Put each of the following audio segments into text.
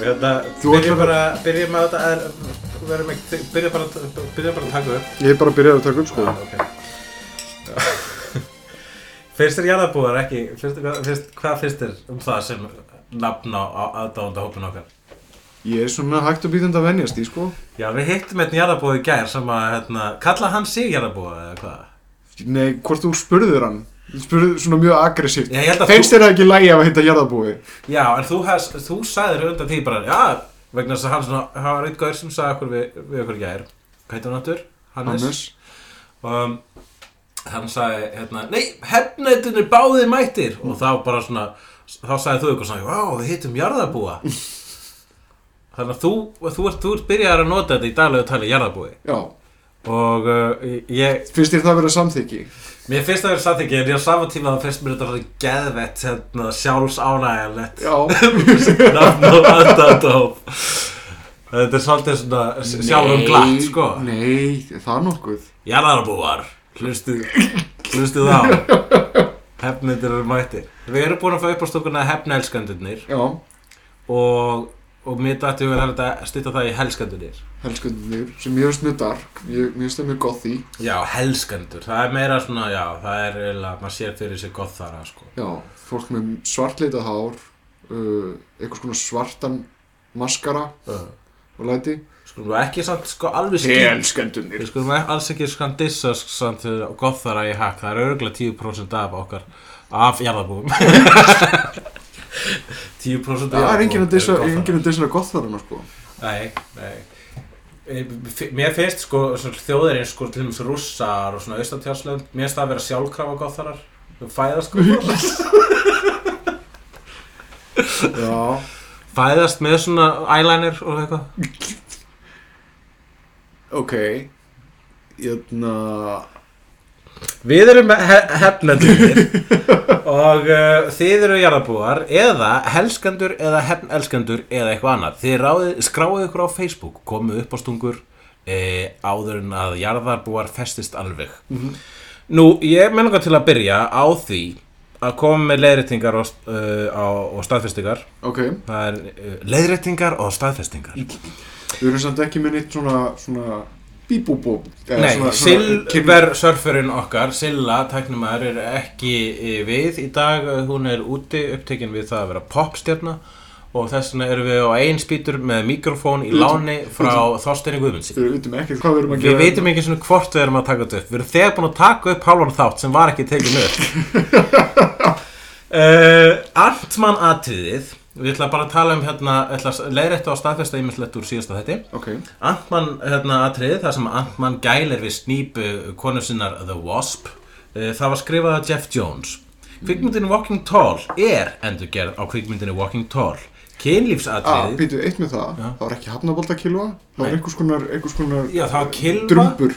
Hérna, Þú byrjum ætlar- bara, byrjum að þetta er, verðum ekki, byrjum bara, að- byrjum bara að taka upp. Ég er bara að byrja að taka upp sko. ok. Fyrst er jarðabúðar ekki, fyrst, hvað- fyrst, hvað fyrst er um það sem nafn á aðdáðanda hópin okkar? Ég er svona hægt að býtandi að venjast í sko. Já, við hittum einn jarðabúð í gær sem að, hérna, kalla hann sig jarðabúð eða hvað? Nei, hvort þú spurður hann? Þú spurður svona mjög aggressíft. Ég held að Finnst þér það ekki lægi að hitta jarðabúi? Já, en þú, has, þú sagðir undan því bara, já, vegna þess að hann svona, hann var einn gaur sem sagði okkur við, við okkur í gær. Hvað heitir hann aftur? Hannes? um, hann sagði hérna, nei, hefnættin er báði mættir og þá bara svona þá sagði þú eitthvað svona, vá, við hittum jarðabúa þannig að þú, þú ert, þú ert byrjaðar að nota þetta í daglegu tali jarðabúi Já. og uh, ég, Finnst þér það vera samþykki? mér finnst það verið samþyggi en ég á sama tíma þá finnst mér þetta svona geðvett hérna, sjálfsánægilegt Já. nafn og aðdáðdóf þetta er svolítið svona sjálfum glatt sko Nei, það er nokkuð. Jarðarbúar Hlustu Hlustu þá Hefnendur eru mættir Við erum búin að fá upp á stokkurna hefnelskandunir Já, Og Og mér dætti við að stýta það í helskandunir helskundinir sem ég finnst mjög dark. Ég, mér finnst það mjög gott í. Já, helskandur Það er meira svona, já Það er eiginlega Maður sér fyrir sér gott þar sko. Já, fólk með svartleitað hár, uh, einhvers konar svartan maskara og læti. Uh, Skulum við ekki samt sko alveg skýr Helskundinir. Við skulum ekki- alls ekki skan dissa sk- samt gott þar í hack Það er örgulega 10% af okkar Af jarðarbúum 10% af Það er jarðarbúum enginn að dissa, eru Gothar. enginn að dissa gott þar hann sko. Nei, nei Eh, f- Mér finnst sko svona þjóðirinn sko til dæmis rússar og svona austatjárslönd Mér finnst það að vera sjálfkrafa gotharar Þau fæðast sko Já. Fæðast með svona eyeliner og eitthvað Ok Hérna, Jötna Við erum he hefnendur og uh, þið eru jarðabúar eða helskendur eða hefnelskendur eða eitthvað annað Þið ráðið, skráið ykkur á Facebook, komið upp á stungur eh, áður en að jarðarbúar festist alveg Nú, ég menn okkar til að byrja á því að koma með leiðréttingar og, uh, á, og staðfestingar Ok, Það er uh, leiðréttingar og staðfestingar við erum samt ekki með neitt svona, svona bíbúbú Nei, Silver surferinn okkar, Silla, tæknumæður, er ekki eh, við í dag Eh, Hún er úti upptekin við það að vera popstjarna Og þess vegna erum við á einn spýtur með mikrofón í Utan- láni frá Þorsteini Guðmundsson Við veitum ekkert hvað við erum að Við gera veitum ekki svona hvort við erum að taka þetta upp Við erum þegar búin að taka upp hálfan þátt sem var ekki tekin upp uh, Antmann atriðið Við ætla bara að tala um hérna leiðrættu á staðfesta ímislegt úr síðasta þetta Ok, Antmann hérna, atriðið þar sem Antmann gælir við snýpu konu sinnar The Wasp uh, Það var skrifað af Jeff Jones Kvikmyndinu Walking Tall er endurgerð á kvikmyndinu Walking Tall að ah, Kynlífsatriðið býtu eitt með það Það var ekki hafnabóltakilva Það var Nei. einhvers konar, einhvers konar Já, það var kylfa drumbur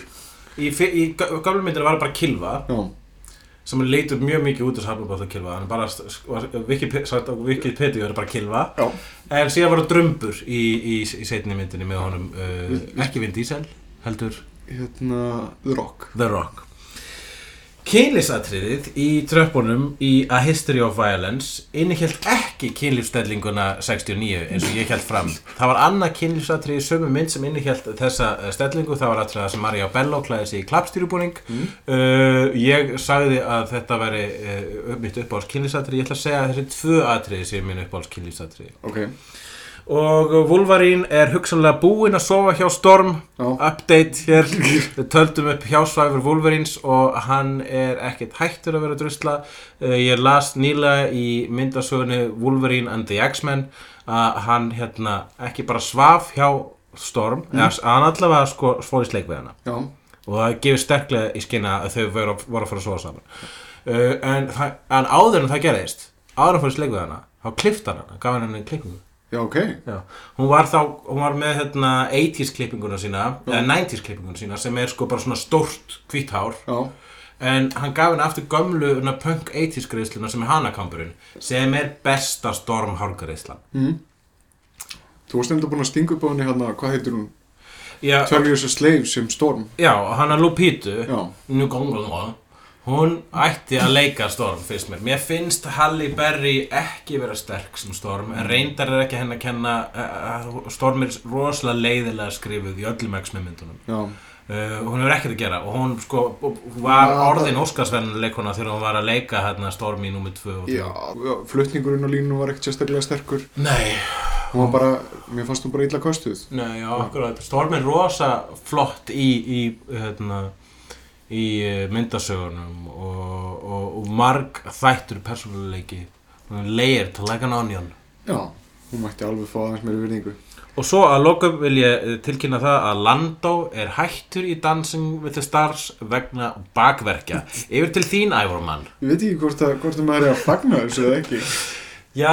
Í, fi- í gömlumyndinu var það bara kylfa Já, sem leitur mjög mikið út úr hafnabóttakilfa hann er bara, Wikipedia sagt á Wikipedia er bara kilfa já, en síðan var það drömbur í, í, í setni myndinni með honum uh, ekki Vin Diesel, heldur hérna The Rock The Rock Kynlísatriðið í tröppunum í A History of Violence innihjælt ekki kynlífsstellinguna 69 eins og ég held fram það var annað kynlífsatrið í sömu mynd sem innihjælt þessa eh, stellingu, það var atriða sem Maria Bello klæði sig í klappstýrubúning uh, ég sagði að þetta veri uh, mitt uppáhalds kynlífsatrið ég ætla að segja að þessi tvö atriði séu mín uppáhalds kynlífsatrið Ok, og Wolverine er hugsanlega búinn að sofa hjá Storm já, update hér við töldum upp hjásvæfur Wolverines og hann er ekkert hættur að vera drusla Eh, ég las nýlega í myndasögunni Wolverine and the X-Men að hann hérna ekki bara svaf hjá Storm, mm. eða hann allavega sko, fór í sleik við hana já, og það gefur sterklega í skina að þau voru, voru að fara að sofa saman uh, en, það- en áður en það gerðist áður en fór í sleik við hana, þá klift hann hana gaf hann henni klippingu já, ok Já. hún var þá, hún var með hérna, 80s klippinguna sína, eða 90s klippinguna sína sem er sko bara svona stórt hvítt hár já, en hann gaf henni aftur gömlu hana, punk 80s greiðsluna sem er hanakamburinn sem er besta storm hálgreiðslan þú varst enda búin að stinga upp á henni hérna, hvað heitir hún, já, 12 Years a Slave sem Storm já, hann er Lupítu já, nú góngum það hún ætti að leika Storm finnst mér mér finnst Halle Berry ekki vera sterk sem Storm en reyndar er ekki henni að kenna uh, Storm er rosalega leiðilega skrifuð í öllum X-Men myndunum já, uh, hún hefur ekkert að gera og hún sko hún var Já, orðin óskarsverðanleikona þegar hún var að leika hérna Storm í nummer 2 og 3 já flutningurinn á línunum var ekkert sérstaklega sterkur nei, hún var bara, mér fannst hún bara illa kostuð nei, já, akkurat Storm er rosa flott í, í hérna í eh, myndasögunum og, og, og marg þættur persónuleiki Hún er layered like an onion já, hún mætti alveg fá aðeins meiri virðingu og svo að lokum vil ég eh, tilkynna það að Landó er hættur í Dancing with the Stars vegna bakverkja yfir til þín Ævormann ég veit ekki hvort, að, hvort að maður er að fagna þessu eða ekki Já,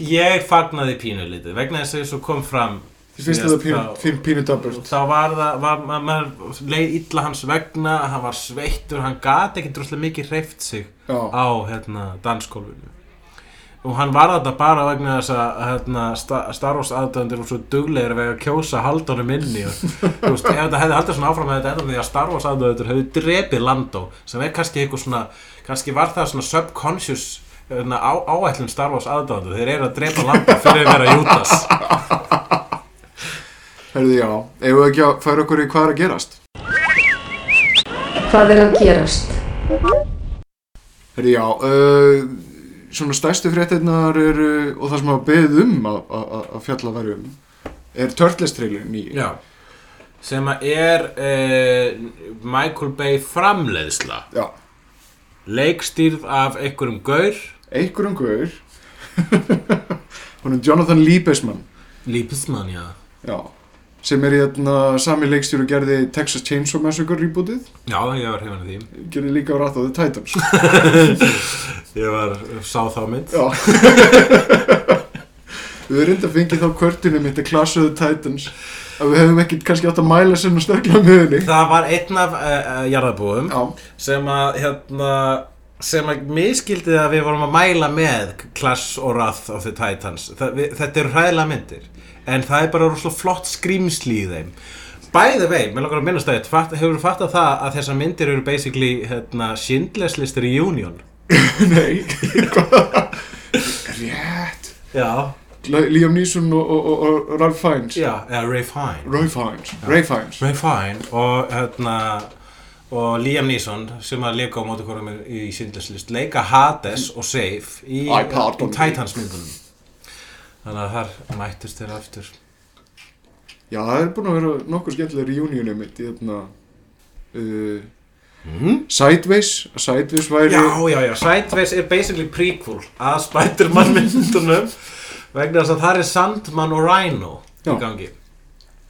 ég fagnaði pínu lítið vegna þess að svo kom fram Þið finnst síðast þetta pínu, þá- pínu, pínu dabburt Þá var það, var, ma- maður leið illa hans vegna, hann var sveittur, hann gat ekki droslega mikið hreift sig Já, á hérna, danskólfinu og hann var þetta bara vegna þess að hérna, sta- Star Wars aðdöndir og svo duglegir við að kjósa haldunum inni og þú veist, ef þetta hefði haldið svona áfram hefði þetta enda með því að Star Wars aðdöndir hefði drepið Landó sem er kannski eitthvað svona kannski var það svona subconscious hérna, á, áætlun Star Wars aðdöndir þeir eru að drepa Landó fyrir að vera Júdas herðu já Eigum við ekki að færa okkur í hvað er að gerast? Hvað er að gerast? Herðu já uh, Svona stærstu fréttinnar eru og það sem að beðið um að- að að- að fjalla væri um er Turtles-trailerin nýju Já sem að er eh, Michael Bay framleiðsla já. leikstýrð af einhverjum gaur Einhverjum guður Hún er Jonathan Liebesman Lípismann, já Já sem er hérna sami leikstjóri og gerði Texas Chainsaw Massacre rebootið Já, ég var hefðan af því gerði líka á Wrath of the Titans Ég var, eh, sá þá mynd Já Við erum reynda að fengið þá kvörtunum mitt að klassuðu Titans að við hefum ekkert kannski átt að mæla sinna stökla með henni Það var einn af uh, uh, jarðabúum Já, sem að, hérna sem að miskildið að við vorum að mæla með Clash og Wrath of the Titans það, við, þetta eru hræðilega myndir en það er bara rosalega flott skrýmsli í þeim Bæði vei, mér langar að minnast að þetta fatt, hefur fattað það að þessar myndir eru basically hérna, Schindler's List Reunion nei Rétt Já, Liam Neeson og, og, og, og Ralph Fiennes já, eða Ray Fine Ray Fiennes Ray Fiennes Ray Fine og hérna og Liam Neeson sem að leika á móti hverjum í síndlæslist leika Hades og Save í, Æ, pardon í Titans myndunum þannig að þar mættust þeir aftur Já, það er búin að vera nokkuð skemmtilega reunionum mitt í þarna uh, mm? Sideways Sideways væri já, já, já, Sideways er basically prequel að Spider-Man myndunum vegna þess að þar er Sandman og Rhino í Já. gangi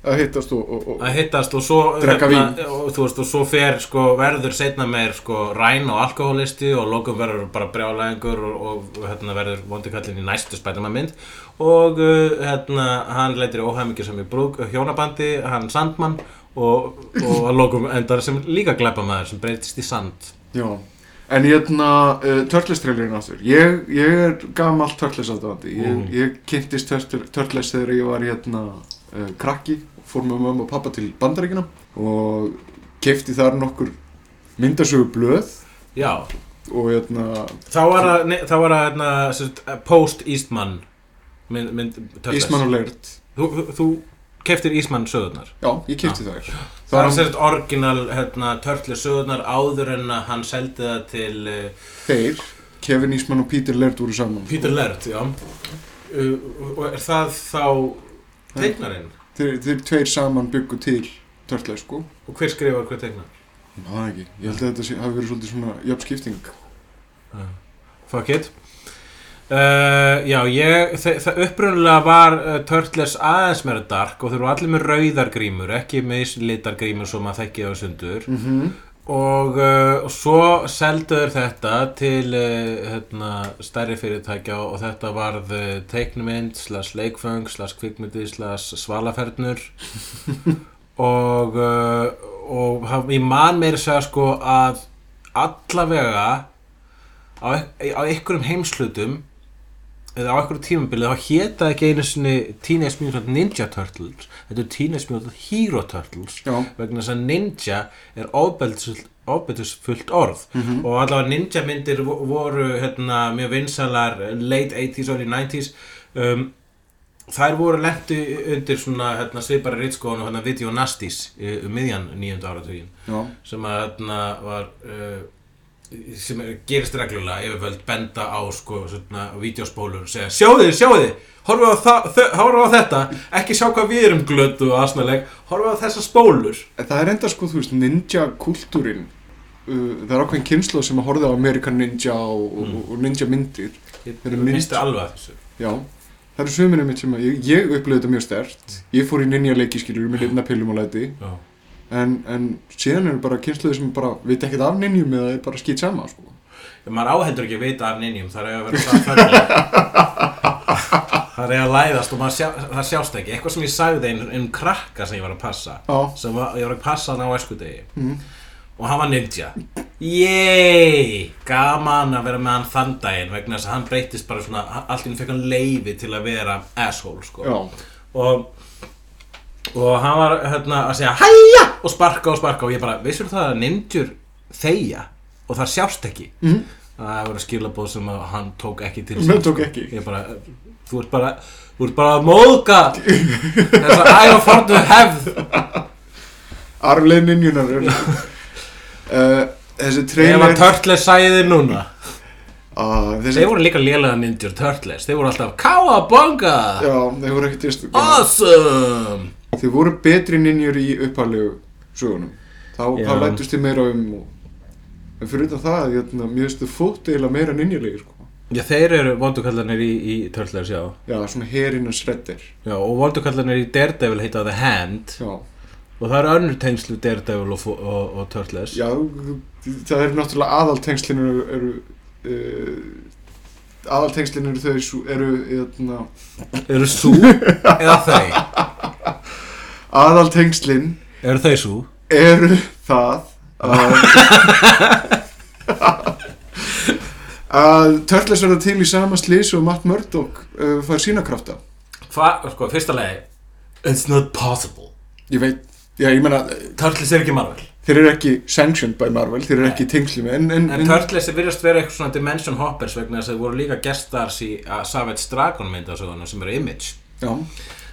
að hittast og, og, og að hittast og svo hérna, Drekka vín. og, þú veist, og svo fer sko, verður setna meir sko, ræn og alkoholisti og lokum verður bara brjálæðingur og, og hérna, verður vondikallin í næstu spætumamynd og uh, hérna, hann leitir óhæmingi sem í brúk uh, hjónabandi, hann sandmann og, og að lokum endar sem líka glæpamaður sem breytist í sand Já, en hérna uh, Turtles-trailerinn aftur ég, ég er gamall Turtles-aðdavandi ég, Mhm. ég kynntist Turtle- Turtles þegar ég var hérna uh, krakki fór með mamma og pappa til bandaríkina og kefti þar nokkur myndasögu blöð já, og hérna þá var að, nei, þá var að hérna, sem sagt, post Eastman mynd, mynd, Turtles. Ísmann og Leird þú, þú- þú keftir Eastman sögurnar Já, ég kefti þær Það er þar sérst orginal hérna, törtlu sögurnar áður en að hann seldi það til uh, þeir Kevin Ísmann og Peter Leird voru saman Peter Laird, já. Uh, og er það þá teiknarinn? þeir, þeir tveir saman byggu til Turtles sko Og hver skrifar hver teiknar? Það ekki, ég held að þetta sé- hafi verið svolítið svona jöfnskipting Fuck it. Uh, já, ég, þe- það upprunalega var uh, Turtles aðeins meira dark og þeir eru allir með rauðar grímur, ekki með litar grímur sem maður þekki á sundur mm -hmm. og, uh, og svo selduður þetta til uh, hérna, stærri fyrirtækja og þetta varð uh, teiknumind slags leikföng, slags kvikmyndi slags svalafernur og, uh, og haf- ég man meira að segja sko að allavega á, eik- á einhverjum heimslutum eða á einhverjum tímabilið þá héta ekki einu sinni Teenage Mutant Ninja Turtles þetta er Teenage Mutant Hero Turtles Já, vegna þess að ninja er ofbeltisfullt orð og allavega ninja myndir vo- voru hérna, mjög vinsalar late 80s, early 90s um, þær voru lentu undir svona hérna, svipara ritskóðan og hérna video nasties uh, um miðjan nýjönda áratugin já, sem að hérna var uh, sem er- gerist reglulega yfirvöld benda á sko svona vídeospólur og segja sjáðu, sjáðu, horfa á, það, þau- horfa á þetta ekki sjá hvað við erum glödd og aðsnaleg horfa á þessar spólur En það er enda sko, þú veist, ninja kultúrin uh, það er ákveðin kynslu sem að horfa á Amerikan Ninja og, og, Mm. og ninja myndir ég Eru ég mynd- misti alveg að þessu já, það eru sömurinn mitt sem að ég, ég upplöði þetta mjög stert ég fór í ninja leiki skilur með hérna pillum og læti Já. en, en síðan eru bara kynsluði sem bara veit ekkert af ninjum eða er bara skýt sama sko. maður áhendur ekki að vita af ninjum það er að vera það fölgja það er að læðast og maður sjá, það sjást ekki eitthvað sem ég sagði einu um krakka sem ég var að passa já, sem var, ég var að passa hann á eskudegi mm. og hann var ninja Yey, gaman að vera með hann þann daginn vegna þess að hann breytist bara svona allt í hann fekk hann leifi til að vera asshole sko já, og, og hann var hérna að segja hæja og sparka og sparka og ég bara, vissur það að ninjur þegja og það sjást ekki Mhm. það voru skilabóð sem að hann tók ekki til sko. Hann tók ekki. ég bara, þú ert bara þú ert bara að móðga þess að æfa fornu hefð arflein ninjunar uh, þessi ef trailer að Turtles sæði þið núna uh, þessi, Þeir voru líka lélega ninjur Turtles Þeir voru alltaf Kawabunga já, þeir voru ekkert just, Ah! Awesome Þið voru betri ninjur í upphæðlegu sögunum. Þá, Já. þá lætust þið meira um og... En fyrir utan það, jötna, mér finnst þið fótt eiginlega meira ninjulegi, sko. Já, þeir eru vondukallarnir í, í Turtles, já. Já, svona herinn og shredder. já Og vondukallarnir í Daredevil heita The Hand Já, Og það eru önnur tengslu Daredevil og, og, og Turtles já, það eru náttúrulega aðaltengslinu eru... Uh, aðaltengslinu eru þau, sú- eru, hérna, jötna... Eru sú eða þau? Aðaltengslin Eru þau sú? eru það að... að Turtles verða til í sama slís og Matt Murdock uh, fær sína krafta. Hvað, sko, fyrsta lagi It's not possible Ég veit, já ég meina Turtles er ekki Marvel þeir eru ekki sanctioned by Marvel, þeir eru ekki tengsli með en, en, En Turtles er virðast vera eitthvað svona Dimension Hoppers vegna þess að þeir voru líka gestars í uh, Savage Dragon myndasögunum sem eru Image já,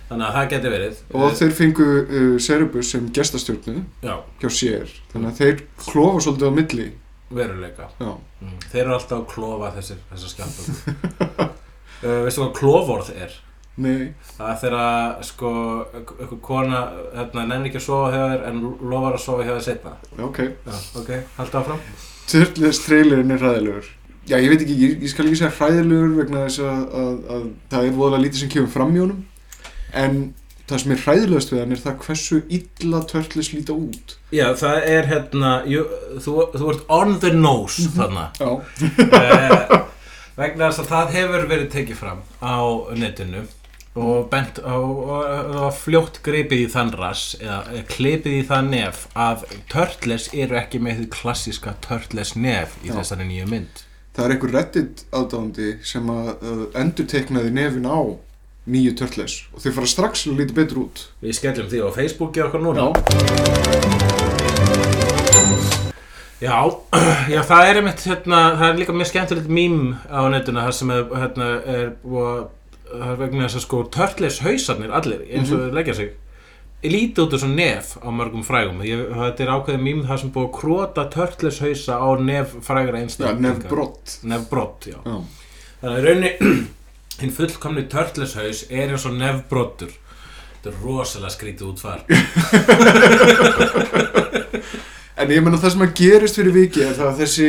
Þannig að það geti verið Eh, og þeir fengu uh, Cerebus sem gestastjórnu Já, hjá sér, þannig að þeir klofa svolítið á milli, veruleika já, mm. Þeir eru alltaf að klofa þessir, þessar skjaldum uh, Veistu hvað kloforð er? nei, Það er þegar sko einhver kona, hérna, nenni ekki að sofa hjá þér en lofar að sofa hjá þér setna já, ok Já, ok, halda áfram Turtles trailerinn er hræðilegur já, ég veit ekki, ég, ég skal ekki segja hræðilegur vegna þess að, að, að það er voðalega lítið sem kemur fram í honum en það sem er hræðilegast við hann er það hversu illa Turtles líta út Já, það er hérna, jú, þú, þú ert on the nose þarna já, Mhm. Eh, vegna þess að það hefur verið tekið fram á netinu og, bent, og, og, og það var fljótt gripið í þann rass eða eh, klipið í þann nef að Turtles eru ekki með því klassíska Turtles nef í Já. þessari nýju mynd það er einhver reddit aðdándi sem að uh, endur teiknaði nefin á nýju Turtles og þeir fara strax að líta betur út Við skellum því á Facebooki okkur núna Já, já, það er einmitt hérna, það er líka mjög skemmtilegt mím á netinu þar sem er, hérna, er og, það er vegna þess að sko Turtles hausarnir allir eins og þeir leggja sig lítið út þessum nef á mörgum frægum Ég, þetta er ákveðið mím þar sem búið að krota Turtles hausa á nef frægra Já, Mm. einstaklinga nefn brott Nefbrott, já Já, Þannig að í rauninni hinn fullkomni Turtles haus er eins og nefbrottur Þetta er rosalega skrítið útfar En ég menna það sem að gerist fyrir viki er það að þessi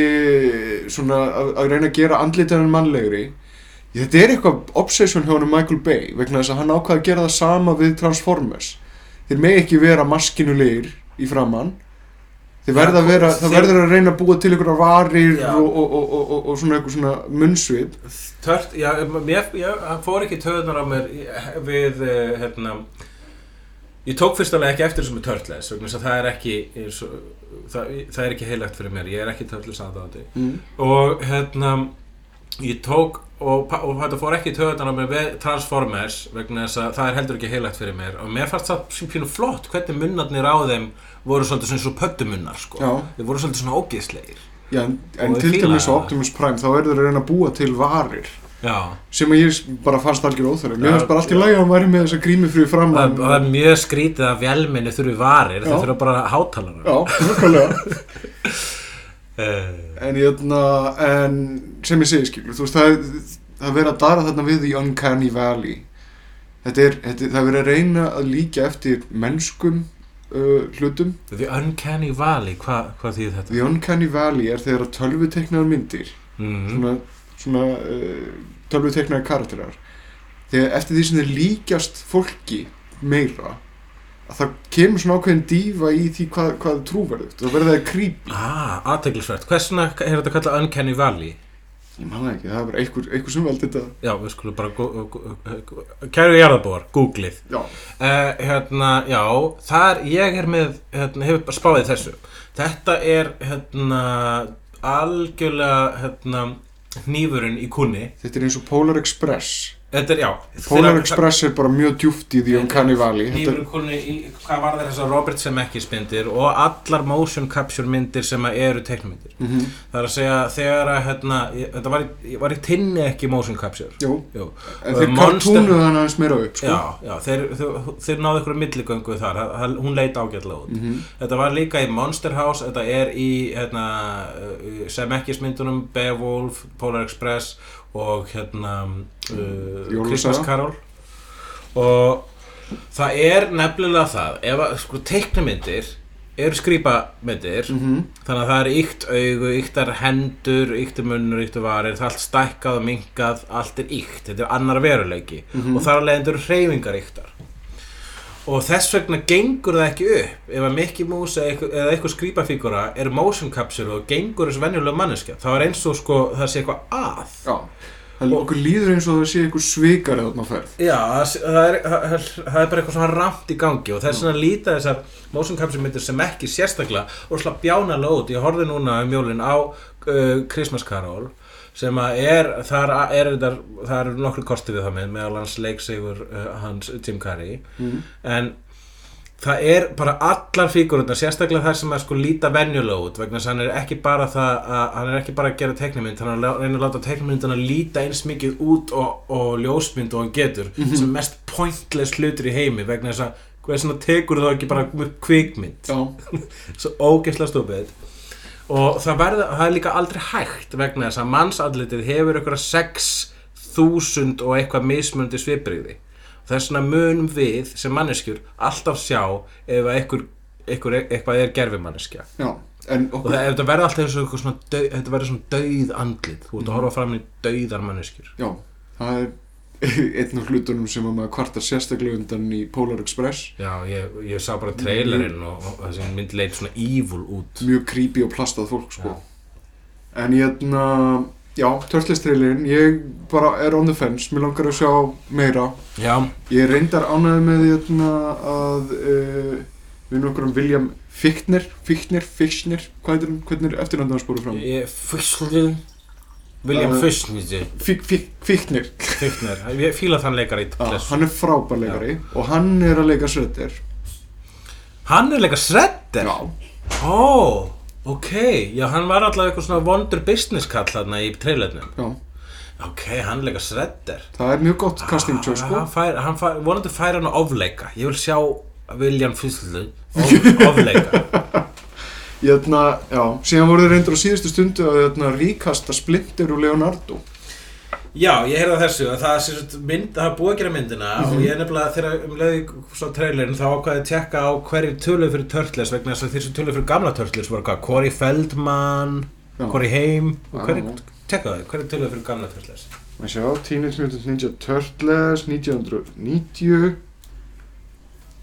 svona að, að reyna að gera andlitaðan mannlegri Ég, Þetta er eitthvað obsession hjá hann Michael Bay vegna þess að hann ákvað að gera það sama við Transformers Þeir megi ekki vera maskinulegir í framann Þeir Já, verða að vera, það þeir- verður að reyna að búa til einhverja varir Já. og, og, og, og, og, og svona eitthvað svona munnsvip Tört, já, mér, já, hann fór ekki töðunar á mér í- við, eh, hérna, ég tók fyrst alveg ekki eftir þessum með törtles, vegna þess að það er ekki, eins og- það, það er ekki heilagt fyrir mér, ég er ekki törtles aðdáðandi. mm. Og hérna, ég tók og, pa- og þetta fór ekki töðunar á mér við Transformers, vegna þess að það er heldur ekki heilagt fyrir mér. Og mér fannst það sem pínu flott hvernig munnarnir á þeim voru svolítið svona svo pöttumunnar, sko. Já, Þeir voru svolítið svona ógeðslegir. já, en, en Og til þeir fíla dæmis á það. Optimus Prime þá verður að reyna að búa til varir Já. sem að ég bara fannst algjör óþörf Mér Já, fannst bara allt í já. lagi að hann væri með þessa grími fyrir Það, framann það er mjög skrítið að vélminni þurfi varir, Já. þau þurfa bara hátalara. Já, nokkulega Uh, En jötna, en sem ég segi skilur, þú veist, það, er- það er verið að dara þarna við í Uncanny Valley. Þetta er, þetta, er- það er verið að reyna að líka eftir mennskum uh, hlutum. the Uncanny Valley, hva, hvað þýðir þetta? The Uncanny Valley er þegar að tölvuteknaðar myndir, Mm. svona, svona uh, tölvuteknaðar karakterar, þegar eftir því sem þeir líkjast fólki meira, að það kemur svona ákveðin dífa í því hvað, hvað er trúverðugt. Það verður það creepy. Ah, aðteglisvert. Hversna er þetta kallað Uncanny Valley? Ég manna ekki, það er bara einhver, einhver sem veldi þetta. Já, við skulum bara... gú- gú- gú- eh, Kæru jarðabóar, googlið. Já. Uh, hérna, já, þar ég er með, hérna, hefur bara spáðið þessu. Þetta er, hérna, algjörlega, hérna, hnífurinn í kunni. Þetta er eins og Polar Express. Þetta er, já. Polar þeirra- Express er bara mjög djúft í því um kannivali. Þetta, Nýfurkunni í hvað var þessar Robert Zemeckis myndir og allar motion capture myndir sem að eru teiknmyndir mm það er að segja þegar að hérna, ég, þetta var, í- ég var í tinni ekki motion capture jú, Jú. en Uh, þeir Monster- kartúnuðu hann aðeins meira upp, sko. Já, já, þeir, þeir, þeir náðu ykkur milligöngu þar, það- það, hún leit ágætlega út Mhm. Þetta var líka í Monster House, þetta er í hérna, Zemeckis myndunum, Beowulf, Polar Express og hérna uh, Jólasaga. Christmas Carol og það er nefnilega það, ef að sko teiknumyndir eru skrýpamyndir Mhm. þannig að það er ykt augu, yktar hendur, yktir munnur, yktir varir það er allt stækkað og minkað, allt er ykt þetta er annar veruleiki og þar alveg endur hreyfingar yktar og þess vegna gengur það ekki upp ef að Mickey Mouse eða eitthvað, eða eitthvað skrýpafígura er motion capture og gengur þessu venjulega manneskja þá er eins og sko það sé eitthvað að Já. Það Og- okkur líður eins og það sé einhver svikar eða þarna ferð. Já, það sé- það er, það, það- það er bara eitthvað svona ramt í gangi og þess vegna líta þessar motion capture myndir sem ekki sérstaklega og slá bjánalega út. Ég horfði núna um jólin á uh, Christmas Carol sem að er, þar a- er, er, þar eru nokkru kosti við það með, meðal hans leiksegur uh, hans Jim Carrey Mm. en það er bara allar fígururnar sérstaklega þær sem að sko líta venjulega út vegna þess að hann er ekki bara það að hann er ekki bara að gera teiknimynd hann er að lá- reyna að láta teiknimyndina líta eins mikið út og, og ljósmynd og hann getur sem mest pointless hlutur í heimi vegna þess að hvað svona tekur þú ekki bara með kvikmynd Já. svo ógeðslega stúpið og það, verða, það er líka aldrei hægt vegna þess að mannsallitið hefur ykkur 6.000 og eitthvað mismunandi svipriði þess vegna mun við sem manneskjur alltaf sjá ef að ykkur, ykkur, eitthvað er gerfimanneskja Já. En og okkur, það, ef þetta verða alltaf eins og ykkur svona dau, þetta verður svona dauð andlit þú ert að horfa fram í dauðar manneskjur já, það er einn af hlutunum sem að maður kvartar sérstaklega undan í Polar Express. já, ég, ég sá bara trailerinn og, og þessi mynd leit svona evil út Mjög creepy og plastað fólk, sko. En hérna, já, törtlistrelin, ég bara er on the fence, mér langar að sjá meira. já, Ég reyndar ánæði með hérna að uh, við nokkurum William Fichtner, Fichtner, Fichtner, hvað heitir hann, hvernig er eftirnöndið hans búið fram? ég fyrstu William Það- Fyrstnýtti Fík- fík- Fichtner, Fichtner, ég fíla þann leikar í ah, Bless. hann er frábær leikari og hann er að leika Shredder. Hann er leika Shredder? Já, Ó, ok, já hann var allavega eitthvað svona vondur business kall þarna í trailernum já, Ok, hann er leika Shredder það er mjög gott casting choice sko. Hann fær, hann fær, vonandi fær hann að ofleika Ég vil sjá William Fyrstlu of, ofleika Hérna, já, síðan voru þeir reyndur á síðustu stundu að hérna ríkasta Splinter og Leonardo. Já, ég heyrði af þessu að það sé svona mynd, það er búið að gera myndina Mhm. og ég er nefnilega þegar um leiði svo trailerin þá ákvaði að tekka á hverju tölu fyrir Turtles vegna þess að þeir sem tölu fyrir gamla Turtles voru hvað, Corey Feldman, Já. Corey Haim og Já. hverju, tekka það, hverju tölu fyrir gamla Turtles Maður sjá, Teenage Mutant Ninja Turtles 1990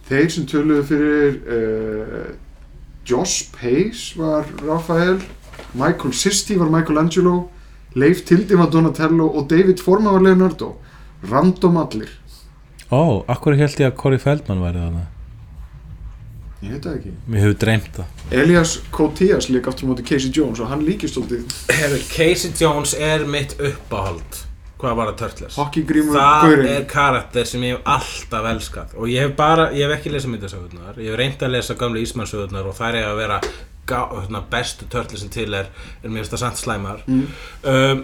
Þeir sem töluðu fyrir uh, Josh Pace var Raphael Michael Sisti var Michelangelo Leif Tildi var Donatello og David Forma var Leonardo Random allir Ó, akkur held ég að Corey Feldman væri þarna Ég veit það ekki Mér hefur dreymt það Elias Kotias lík aftur á móti Casey Jones og hann líkist svolítið Herru, Casey Jones er mitt uppáhald Hvað var að Turtles? hockeygrímur Það gaurinn. er karakter sem ég hef alltaf elskað Og ég hef bara, ég hef ekki lesað myndasögurnar Ég hef reynd að lesa gamla Ísmannsögurnar Og þær er að vera gá, hérna, bestu Turtles sem til er En mér finnst það samt slæmar Mm. um,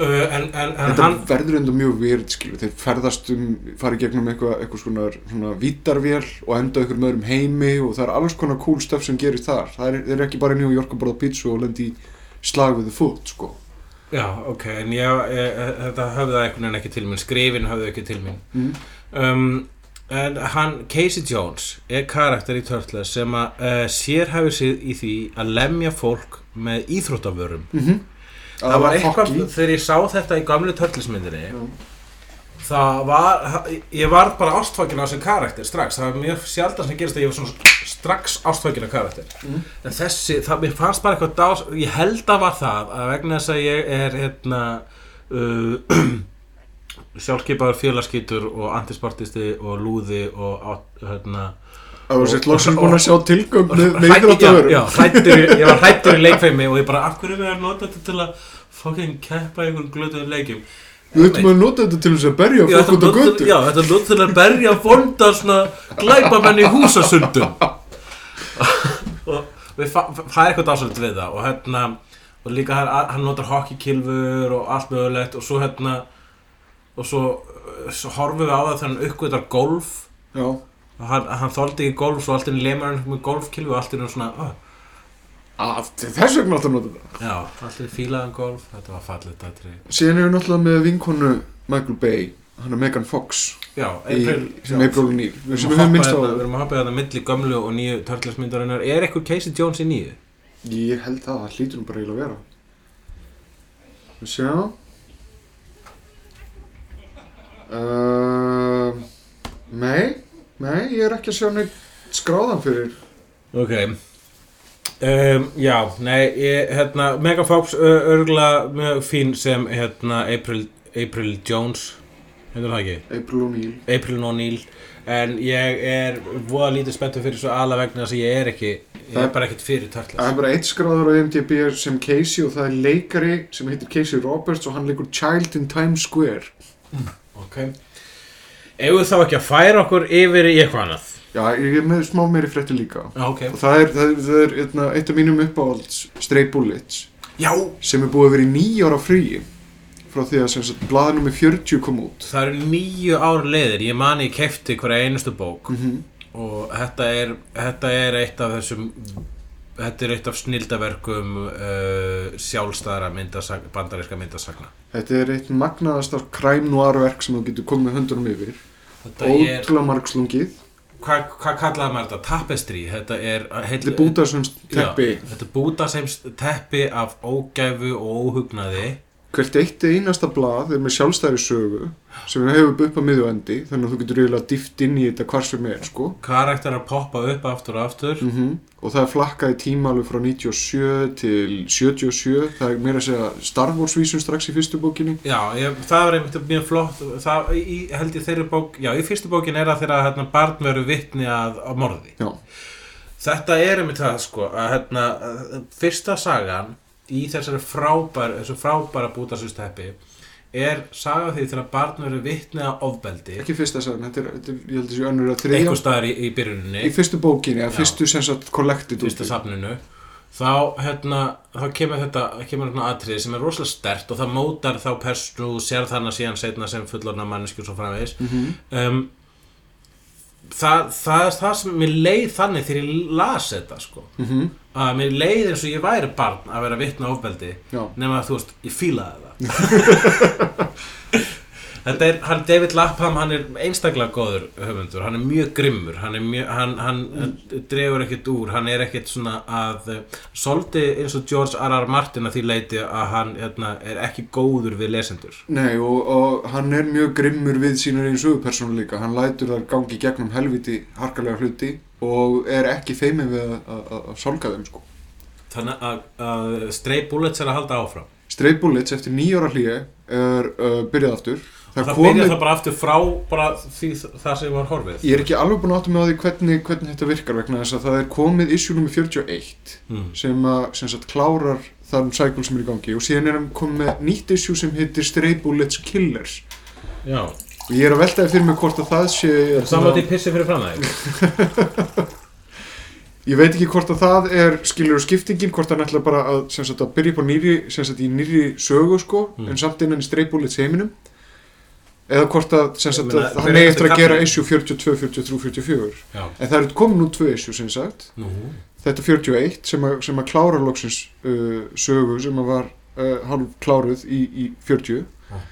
uh, En, en, en Þetta hann verður enda mjög weird skilur, þeir ferðast um, farið gegnum eitthvað eitthvað svona, svona vítarvél og enda ykkur með öðrum heimi og það er alls konar cool stuff sem gerist þar. Það er, þeir eru ekki bara í New York að borða pizza og lendi í slag við the foot, sko. Já, ok, en ég, ég, þetta höfðaði einhvern veginn ekki til mín Skrifin höfðu ekki til mín Mm. um, en hann, Casey Jones er karakter í Turtles sem að uh, sérhæfur sig í því að lemja fólk með íþróttavörum Mm -hmm. það, var eitthvað, þegar ég sá þetta í gamlu Turtlesmyndinni Já. það var, ég var bara ástfangin á þessum karakter strax, það var mjög sjaldan sem gerist að ég var svona strax ástfangin á karakter Mm. en þessi, það, mér fannst bara eitthvað dás, ég held að var það að vegna þess að ég er hérna uh, sjálfskeipaður félagskýtur og antisportisti og lúði og átt, hérna Það var sett og- loksin búin að sjá tilgang með Hrædd- meður á já, dörum. já, hræddur í- ég var hrættur í leikfeimi og ég bara, af hverju er við að nota þetta til að fucking keppa í einhverjum glötuðum leikjum Við veitum að nota þetta til þess að berja Já, fólk út á þetta götu. notar- já, þetta er nótt til að berja vonda svona glæpamenn í húsasundum og við fa- fa- það er eitthvað dásalegt við það og hérna og líka hann, hann notar hokkikilfur og allt mögulegt og svo hérna og svo, uh, svo horfum við á það þegar hann uppgötar golf Já, og hann, hann þoldi ekki golf svo allt inni lemur hann með golfkilfu og allt inni svona oh, Af- þess vegna átt að nota þetta. já, allt inni fílaðan golf þetta var fallið dættri Síðan erum við náttúrulega með vinkonu Michael Bay, hann er Megan Fox já, í, sem er Brolin Ír, Við sem við erum höfum að minnst á hoppa hérna- það. við erum að hoppa þetta milli gömlu og nýju törtlarsmyndarinnar. Er eitthvað Casey Jones í nýju? Ég held það, það hlýtur hún bara eiginlega að vera. Við sjá. Uh, nei, nei, ég er ekki að sjá neitt skráðan fyrir. Ok. Um, já, nei, ég, hérna, Megan Fox uh, örgulega mjög fín sem hérna, April, April Jones, hefur það ekki? April O'Neil. April O'Neil. En ég er voða lítið spenntur fyrir svo ala vegna þess að ég er ekki, ég Það- er bara ekkert fyrir törtlast. Það er bara eitt skráður á IMDb sem Casey og það er leikari sem heitir Casey Roberts og hann leikur Child in Times Square. Ok. Ef við þá ekki að færa okkur yfir í eitthvað annað. Já, ég er með smá meiri frétti líka. Ok. Og það er, það er, það er eitna, eitt af mínum uppáhalds, Stray Bullets. Já. sem er búið að vera í nýjára fríi frá því að sem sagt blaðnum með 40 kom út Það eru nýju ár leiðir, ég mani ég kefti hverja einustu bók. mm -hmm. og þetta er, þetta er eitt af þessum þetta er eitt af snildaverkum uh, sjálfstæðara myndasag, bandaríska myndasagna þetta er eitt magnaðasta crime noir verk sem þú getur komið höndunum yfir þetta er, ótrúlega margslungið hvað hva kallaði maður þetta? tapestri, þetta er heil, þetta er búta sem teppi já, þetta er búta sem s- teppi af ógæfu og óhugnaði hvert eitt einasta blað er með sjálfstæri sögu sem við hefum upp að miðjöndi þannig að þú getur eiginlega dýft inn í þetta hvar sem er sko karakterar poppa upp aftur og aftur Mm Og það er flakkað í tíma alveg frá 97 til 77, það er meira að segja Star Wars vísum strax í fyrstu bókinni. Já, ég, það var einmitt mjög flott það, í, held ég þeirri bók, já, í fyrstu bókin er það þegar hérna, barn verður vitni að, að morði Já, Þetta er einmitt það sko að hérna, að fyrsta sagan í þessari frábæra, þessu frábæra bútasusteppi er saga af því þegar barn verður vitni að ofbeldi ekki fyrsta sagan, þetta er, þetta er ég held að þessi önnur að þriðja. einhver staðar í, í í byrjuninni, fyrstu bókinni, eða Já. fyrstu sem sagt collected fyrsta útgáfu. safninu þá, hérna, þá kemur þetta kemur hérna atrið sem er rosalega stert og það mótar þá persnu og sér þannig síðan setna sem fullorna manneskjur svo framvegis Mhm. um, það, það er það sem mér leið þannig þegar ég las þetta sko Mhm. að mér leið eins og ég væri barn að vera vitna ofbeldi Já. nema að þú veist, ég fílaði það Þetta er, hann David Lapham, hann er einstaklega góður höfundur, hann er mjög grimmur, hann, er mjög, hann, hann mm. drefur ekkert úr, hann er ekkert svona að, eh, svolítið eins og George R.R. Martin að því leiti að hann hérna, er ekki góður við lesendur. Nei, og, og hann er mjög grimmur við sínar einn sögupersonu líka. Hann lætur þar gangi í gegnum helviti harkalega hluti og er ekki feimin við að- að að- að sálga þeim, sko. Þannig að, að Stray Bullets er að halda áfram. Stray Bullets eftir nýjóra hlýja er uh, byrjað aftur. Það, það komið- byrja það bara aftur frá bara því það sem var horfið. Ég er ekki alveg búin að átta mig á því hvernig, hvernig þetta virkar vegna þess að það er komið issue nummer 41 Mm. sem að sem sagt klárar þann cycle sem er í gangi og síðan er hann komið með nýtt issue sem heitir Stray Bullets Killers Já, og ég er að veltaði fyrir mig hvort að það sé hérna, saman til pissi fyrir framæði. ég veit ekki hvort að það er skilur og skiptingin, hvort hann ætla bara að sem sagt að byrja upp á nýri, sem sagt í nýri sögu sko, Mm. en samt innan í Stray Bullets heiminum eða hvort að sem sagt meina, að hver hann er eigi þetta eftir að gera kafli? issue 42, 43, 44 Já, en það eru komin nú tvö issue sem sagt nú, þetta 41 sem að, sem að klára loksins uh, sögu sem að var uh, halv kláruð í, í 40 Ah.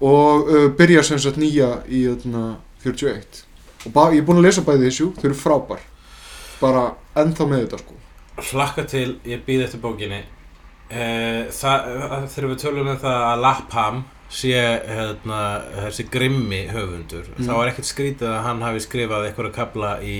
og uh, byrja sem sagt nýja í öðna, 41 og ba- ég er búin að lesa bæði þessu, þau eru frábær bara ennþá með þetta sko hlakka til, ég býð eftir bókinni Eh, það, þegar við tölum um það að Lapham sé hérna, þessi grimmi höfundur Mm. þá er ekkert skrítið að hann hafi skrifað einhverja kabla í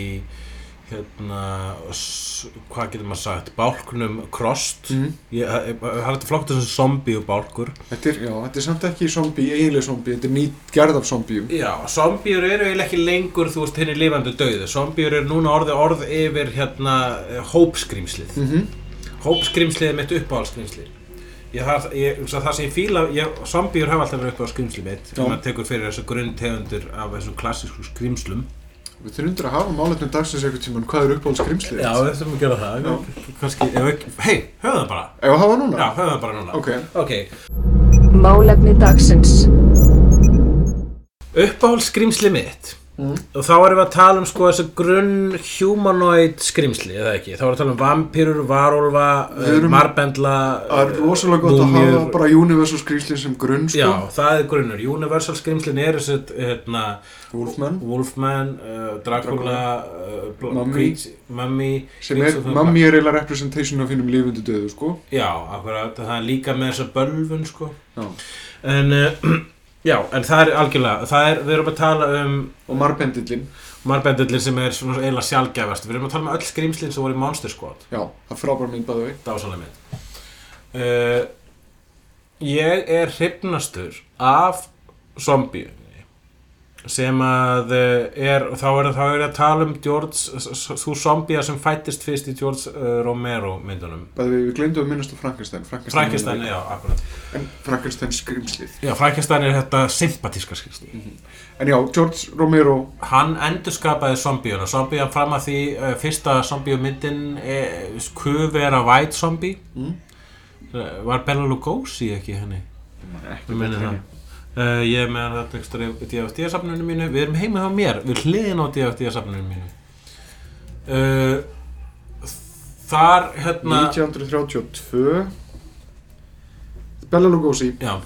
hérna, s- hvað getur maður sagt bálknum Krost mm. mm. ég, ég, ég, hann er þetta flokkt þessum zombi og bálkur þetta, er, já, þetta er samt ekki zombi, eiginlega zombi þetta er nýtt gerð af zombium já, zombíur eru eiginlega ekki lengur þú veist henni lifandi döðu zombíur eru núna orðið orð yfir hérna, hópskrýmslið mm Hópskrimslið er mitt uppáhaldskrimslið Ég, það, ég, svo það sem ég fíla, ég, zombíur hafa alltaf verið upp á skrimslið mitt Já. ef maður tekur fyrir þessu grunntegundur af þessum klassísku skrimslum við þurfum undir að hafa málefnum dagsins einhvern tímann hvað er uppáhaldskrimslið við þurfum að gera það Kanski, ef ekki, hei, höfum það bara ef að hafa Já, núna? höfum það bara núna ok, ok, Málefni dagsins. uppáhaldskrimslið mitt Mm. og þá erum við að tala um sko þessu grunn humanoid skrimsli eða ekki, þá erum við að tala um vampýrur, varólfa Við erum- marbendla eh, það er rosalega gott að hafa bara universal skrýslið sem grunn sko, Já, það er grunnur, universal skrimslin er þessi, hérna, Wolfman Wolfman, uh, Dracula, uh, Bl- Mummy. Creature- Mummy sem Creature er, of the mammi er eiginlega representation af hinnum lifundu döðu, sko Já, akkurat, það er líka með þessa bölvun sko Já. En, uh, já, en það er algjörlega, það er, við erum að tala um og marbendillin, marbendillin sem er svona eiginlega sjálfgæfast Við erum að tala um öll skrimslin sem voru í Monster Squad, já, það er frábær mynd bæðu vei dásalega mynd uh, Ég er hrifnastur af zombíu sem að eh, er, þá er þá er að tala um George, s- s- sú zombía sem fættist fyrst í George eh, Romero myndunum bæðu vei, við glemdum að minnast á Frankenstein Frankenstein, Frankenstein, já, akkurat en Frankenstein skrimslið Já, Frankenstein er þetta sympatíska skrimsli en já, George Romero Hann endurskapaði zombíuna Zombían fram að því uh, fyrsta zombíumyndin eh, kufi er að væt zombí Mm. Eh, Var Bela Lugosi ekki henni? Ég meni það uh, Ég er með þetta ekstra í DFD-safnunum mínu Við erum heima hjá mér, við hliðin á DFD-safnunum mínu uh, Þar, hérna 1932 Bela Lugosi Já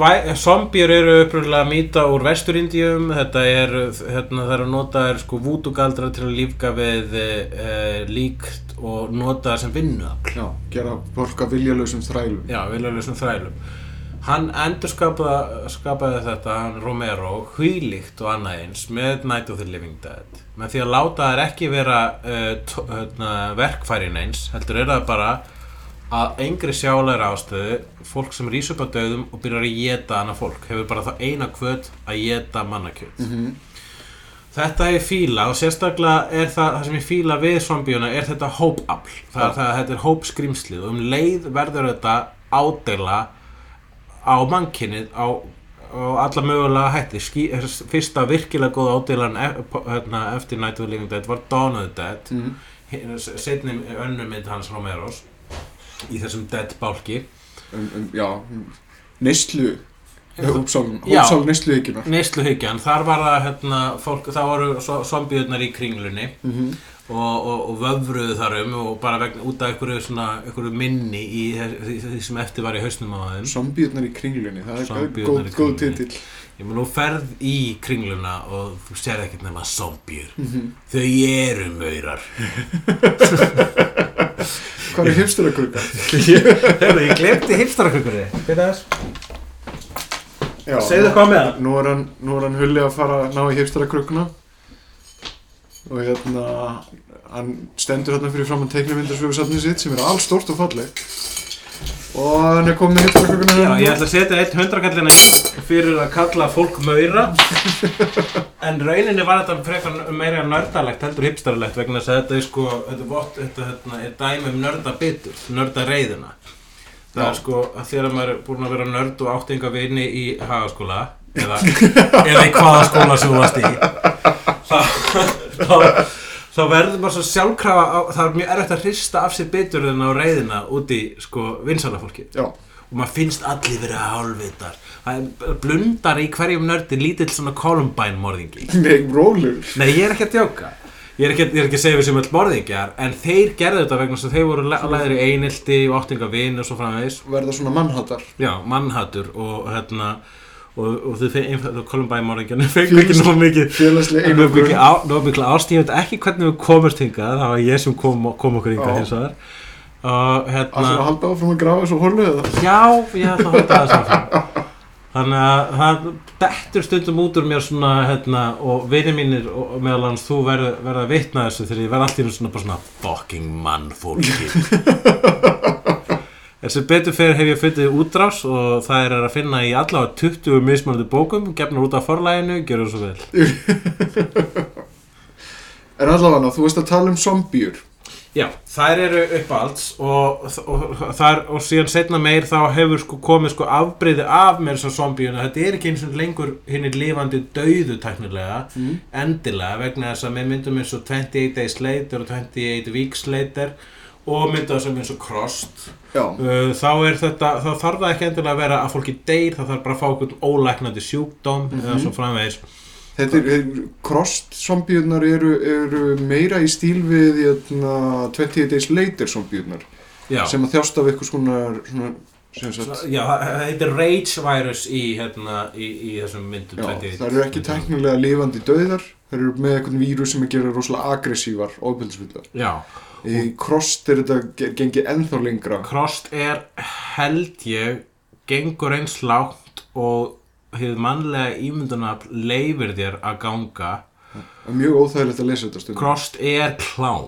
Væ- Zombíur eru upprunlega mýta úr vesturindíum, þetta er hérna, það eru notaðir sko vútugaldra til að lífga við e, líkt og notaðir sem vinnuafl já, gera fólk að viljalausum þrælum já, viljalausum þrælum hann endur skapaði þetta hann Romero, hvílíkt og annað eins með Night of the Living Dead með því að láta þær ekki vera uh, tó, hérna, verkfærin eins heldur er það bara að engri sjáleira ástöðu fólk sem rís upp á döðum og byrjar að geta annað fólk hefur bara þá eina kvöt að geta mannakjöt Þetta er fíla og sérstaklega er það, það sem ég fíla við zombíuna er þetta hópafl það er það að þetta er hópskrimslið og um leið verður þetta ádeila á mannkinnið á, á alla mögulega hætti Skí, fyrsta virkilega góða ádeilan e, po- hérna, eftir Night of the Living Dead var Dawn of the Dead Mhm. mm. setni önnum mynd hans Romeros í þessum Dead bálki um, um, já, um, neyslu hópsálun, Já. hópsálun neysluðikunar neysluhyggjan, þar var það hérna, fólk, þá voru zombíunar í kringlunni mm -hmm. og, og, og vöfruðu þar um og bara vegna, út af einhverju, svona, einhverju minni í þess- því því sem eftir var í hausnum á þeim Zombíurnar í kringlunni, það er Zombíurnar góð, í góð Kringlunni. titill ég meina, þú ferð í kringluna og þú sér ekkert nema zombjur þau eru maurar Hvað er hefstur að kruka? Hefðu, ég glemti hipstarakökurði Já, eitthvað með það nú er hann, nú er hann hulli að fara að ná í hefstur að krukuna og hérna hann stendur hérna fyrir fram að teiknumyndarsöfusafnið sitt sem er allstórt og falleg og hann er komið með hefstur að krukuna Já, ég ætla að setja eitt hundrakallina fyrir að kalla fólk maura en rauninni var þetta frekar meira nördalegt heldur hipstarlegt vegna þess að þetta er sko þetta, vott, þetta, þetta er dæmi um nördabitur nördareyðina það er sko að þegar maður er búin að vera nörd og áttinga vini í hagaskóla eða, eða í hvaða skóla sem þú varst í þá, þá þá verður maður svo sjálfkrafa á, það er mjög erfitt að hrista af sér biturinn á reyðina út í sko vinsala fólki Já, og maður finnst allir verið hálfvitar það er blundar í hverjum nördi lítill svona Columbine morðingi með rólur nei ég er ekki að djóka ég er ekki, ég er ekki að segja við sem öll morðingjar en þeir gerðu þetta vegna þess að þeir voru leðir í einildi og áttinga vin og svo framvegis verða svona mannhattar já, mannhattur og hérna og, og þau fengi, einfalda Columbine morðingjarnir fengu ekki nóg mikið Nú félagslega er einangrun mikil á- nú er mikil ást, ég veit ekki hvernig við komumst hingað, það var ég sem kom, kom okkur hingað Já. hins vegar og hérna Alltaf að halda áfram að grafa svo holu eða Já, ég ætla að halda það saman Þannig að það dettur stundum út úr mér svona hérna, og vinið mínir og og meðal hans þú verð, verða að vitna þessu þegar ég verð allt í einu svona bara svona fucking mann fólki En sem betur fyrir hef ég fundið útrás og það er að finna í allavega 20 mismunandi bókum, gefnur út af forlæginu, gjörðu svo vel En allavega, þú veist að tala um zombíur Já, þær eru uppáhalds og, og, þar, og síðan setna meir þá hefur sko komið sko afbreyði af mér svo zombíuna, þetta er ekki eins og lengur henni lifandi dauðu tæknilega Mm. endilega vegna þess að með myndum eins og 28 Days Later og 28 Weeks Later og mynda sem eins og Crossed Já, uh, þá er þetta, þá þarf það ekki endilega að vera að fólki deyr, það þarf bara að fá okkur ólæknandi sjúkdóm Mhm. eða svo framvegis þetta er, er crossed zombíurnar eru, eru meira í stíl við jötna, 20 days later zombíurnar Já. sem að þjást af eitthvað svona, svona sem sagt Já, það það heitir Rage Virus í, hérna, í, í þessum myndum Já, 28 það eru ekki myndum. teknilega lifandi döðar það eru með eitthvað vírus sem að gera rosalega agressívar ofbildisvillar. Já, Í crossed er þetta ge- gengið ennþá lengra Krost er held ég gengur eins lágt og hefur mannlega ímyndunafl leifir þér að ganga Það er mjög óþægilegt að lesa þetta stundum Krost er klám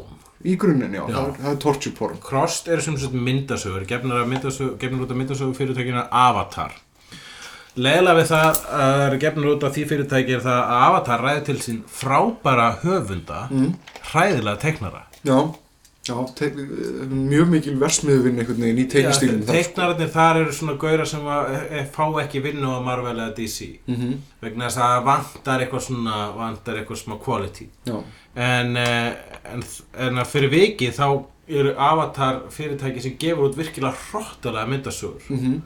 Í grunninn, já, Já. Það, er, það er torture porn Krost er sem sagt myndasögur gefnar, af myndasögur, gefnar út af myndasögur fyrirtækinu Avatar Leila við það að það eru gefnar út af því fyrirtæki er það að Avatar ræði til sín frábæra höfunda hræðilega teknara Já, já tek, eh, mjög mikil versmiðvinn einhvern veginn í sko. teiknistílum Teiknararnir þar eru svona gauðra sem að, e, e, fá ekki vinnu á Marvel eða DC mm -hmm. vegna þess að það vantar eitthvað svona vantar eitthvað smá quality Já, en, eh, en, en að fyrir vikið þá eru avatar fyrirtæki sem gefur út virkilega hróttalega myndasögur mm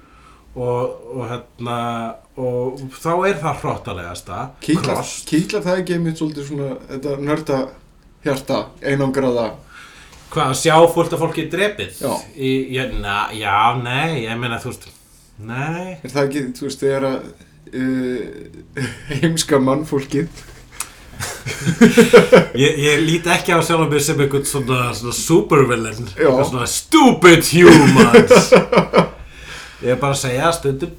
og, og hérna og þá er það hróttalegasta kýtlar, Cross. kýtlar það ekki einmitt svolítið svona þetta nörda hjarta einangraða hvað að sjá fólk að fólki er drepið Já. Í, já, na, já, nei, ég meina þú veist nei, er það ekki, þú veist, þegar að uh, heimska mannfólkið ég, ég lít ekki á sjálfum mér sem einhvern svona, svona supervillain Já. Eitthvað svona stupid humans ég er bara að segja að stundum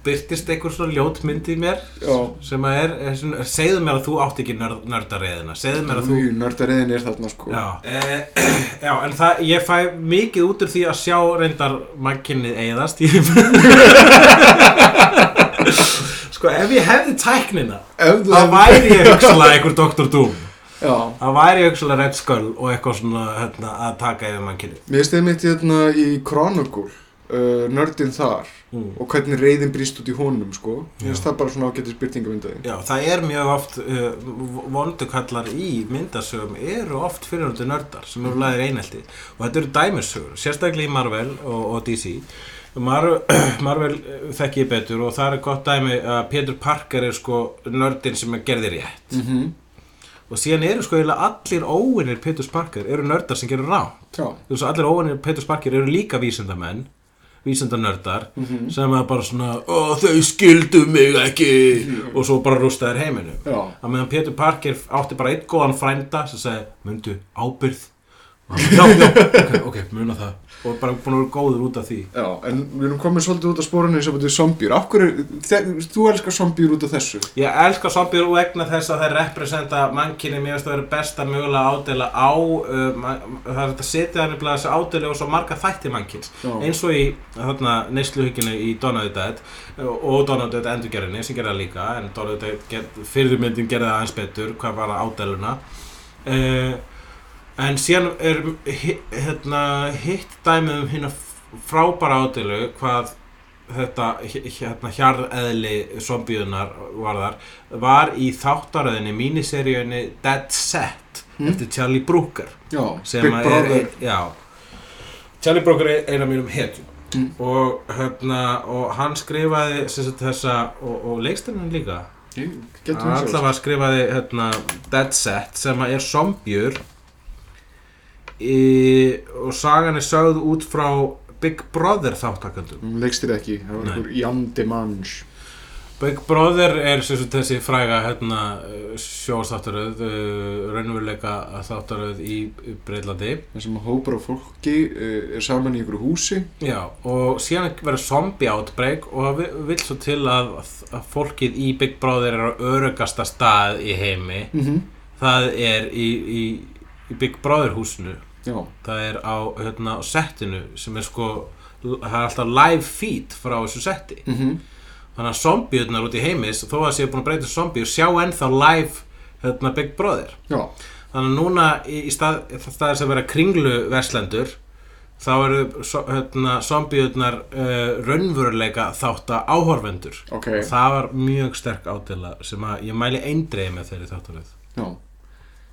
byrtist einhver svona ljótmynd í mér Já, sem að er, er svona, segðu mér að þú átt ekki nörd, nördareiðina segðu mér að þú mjög nördareiðin er þarna sko Já. Eh, já, en það, ég fæ mikið út úr því að sjá reyndar mannkynnið eigðast ég... Sko, ef ég hefði tæknina Ef þú þá væri ég hugsalega einhver Dr. Doom Já, Það væri hugsalega Red Skull og eitthvað svona hérna, að taka yfir mannkynni. mér stefnir mitt hérna í Chronicle uh, nördin þar Mm. og hvernig reyðin brýst út í honum sko Já. mér finnst það bara svona ágættis byrtingavindaði Já, það er mjög oft, uh, vondukallar í myndasögum eru oft fyrirhundi nördar sem eru laðir einhelti og þetta eru dæmisögur, sérstaklega í Marvel og, og DC. Mar Marvel eh, þekki ég betur og það er gott dæmi að Peter Parker er sko nördin sem er gerði rétt mm -hmm. og síðan eru sko eiginlega allir óvinnir Petus Parker eru nördar sem gerur rá Já, þú veist allir óvinnir Petus Parker eru líka vísindamenn vísindanördar sem er bara svona "Ó, þau skildu mig ekki og svo bara rústa þær heiminu já, að meðan Petur Parker átti bara einn góðan frænda sem sagði, mundu, ábyrð og hann bara, já, já, ok, ok, muna það og bara búin að vera góður út af því já, en við erum komin svolítið út af spórunni sem þetta er zombjur. Af hverju, þe- þú elskar zombjur út af þessu. Ég elska zombjur og vegna þess að þeir representa mannkinni mér finnst að vera besta mögulega ádela á uh, man- það er þetta setja hann nefnilega þessi ádela og svo marga þætti mannkins Já. eins og í þarna neysluhygginu í Donald Dead uh, og Donald Dead endurgerðinni sem gerða líka en Donald Dead ger- fyrirmyndin gerði það aðeins betur hvað var að ádeluna uh, en síðan er hi- hérna, hitt dæmið um hérna frábæra ádelu hvað þetta h- hérna hjarðeðli zombiðunar varðar var í þáttaröðinni míniseríunni Dead Set Mm. eftir Charlie Brooker Já, sem Big að Brother. er, já Charlie Brooker er eina mínum hetjum Mm. og, hérna, og hann skrifaði sem sagt, þessa og, og leikstæðan líka Ég getur Hann hún sjálf. allavega skrifaði hérna, Dead Set sem að er zombjur í, og sagan er sögð út frá Big Brother þáttakandum Hún leikstýrði ekki, það var Nei. einhver Jan Demange. Big Brother er sem sagt þessi fræga hérna, sjóstáttaröð, uh, raunveruleika þáttaröð í Breitlandi. Það sem hópar af fólki uh, er saman í einhverju húsi. Já, og síðan verður zombie outbreak og það vi- vill svo til að, að fólkið í Big Brother er á örugasta stað í heimi. Mm -hmm. Það er í, í, í Big Brother húsinu. Já, Það er á, hérna, á settinu sem er sko, það er alltaf live feed frá þessu setti. mm þannig að zombiurnar út í heimis þó að séu búin að breyta í zombie og sjá ennþá live hérna, Big Brother já, þannig að núna í, í stað, staðir sem vera kringlu verslendur þá eru so- hérna, zombiurnar uh, raunvöruleika þátt að áhorfendur ok, það var mjög sterk ádela sem að ég mæli eindreiði með þeirri þáttaröð já.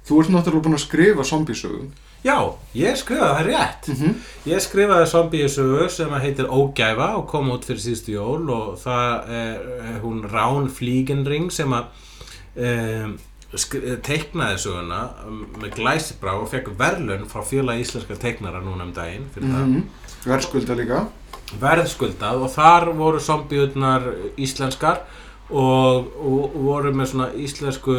Þú ert náttúrulega búin að skrifa zombiesögum. Já, ég skrifaði það rétt Ég skrifaði zombiesögu sem að heitir Ógæfa og kom út fyrir síðustu jól og það er er hún Rán Flígenring sem að um, teiknaði söguna um, með glæsibrá og fekk verðlun frá fjöla íslenska teiknara núna um daginn fyrir -hmm. Verðskulda líka. það verðskuldað og þar voru zombiurnar íslenskar og, og, og voru með svona íslensku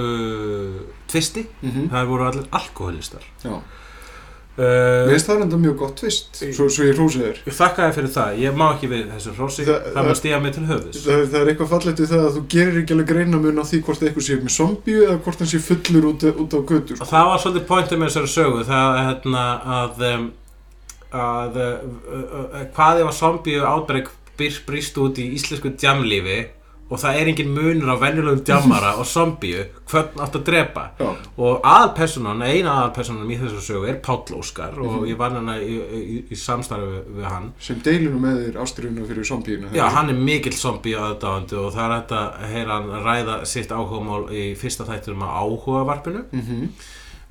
tvisti Mm -hmm. það voru allir alkoholistar Já, uh, við veist það er enda mjög gott vist, svo, svo ég hrósi þér. Ég þakka þér fyrir það, ég má ekki við þessu hrósi, Það- það, það- maður stíða mig til höfðus. Það, það er eitthvað fallegt við það að þú gerir ekki alveg greina mun á því hvort eitthvað sé með zombíu eða hvort hann sé fullur út, út á götu. Og það var svolítið pointið með þessari sögu, það er hérna að, um, að uh, uh, uh, hvað ef að zombíu átbreyk brýst út í íslensku djamlífi og það er engin munur á venjulegum djammara og zombíu, hvern átt að drepa? Já, Og aðalpersonan, eina aðalpersonanum í þessu sögu er Páll Óskar og ég vann hana í, í, í samstarfi við, við hann. sem deilinu með þér ástriðuna fyrir zombíuna. Já, hann er mikill zombi aðdáðandi og það er hægt að heyra hann ræða sitt áhugamál í fyrsta þættinum á áhugavarpinu. Mm -hmm.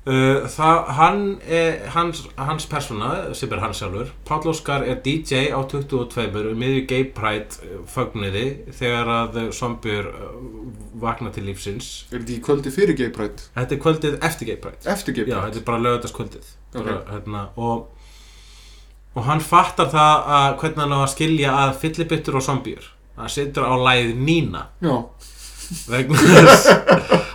Uh, það, hann, er, hans, hans persóna, sem er hans sjálfur, Páll Óskar er DJ á 22 um miðju Gay Pride eh, fögnuði þegar að zombjur vakna til lífsins. Er þetta í kvöldi fyrir geiprætt? Þetta er kvöldið eftir Gay Pride. Eftir Já, geiprætt? þetta er bara lögutaskvöldið. Ok. Bara, hérna, og, og hann fattar það að hvernig hann á að skilja að fyllibittur og zombjur. Hann situr á læð Nína Já, vegna þess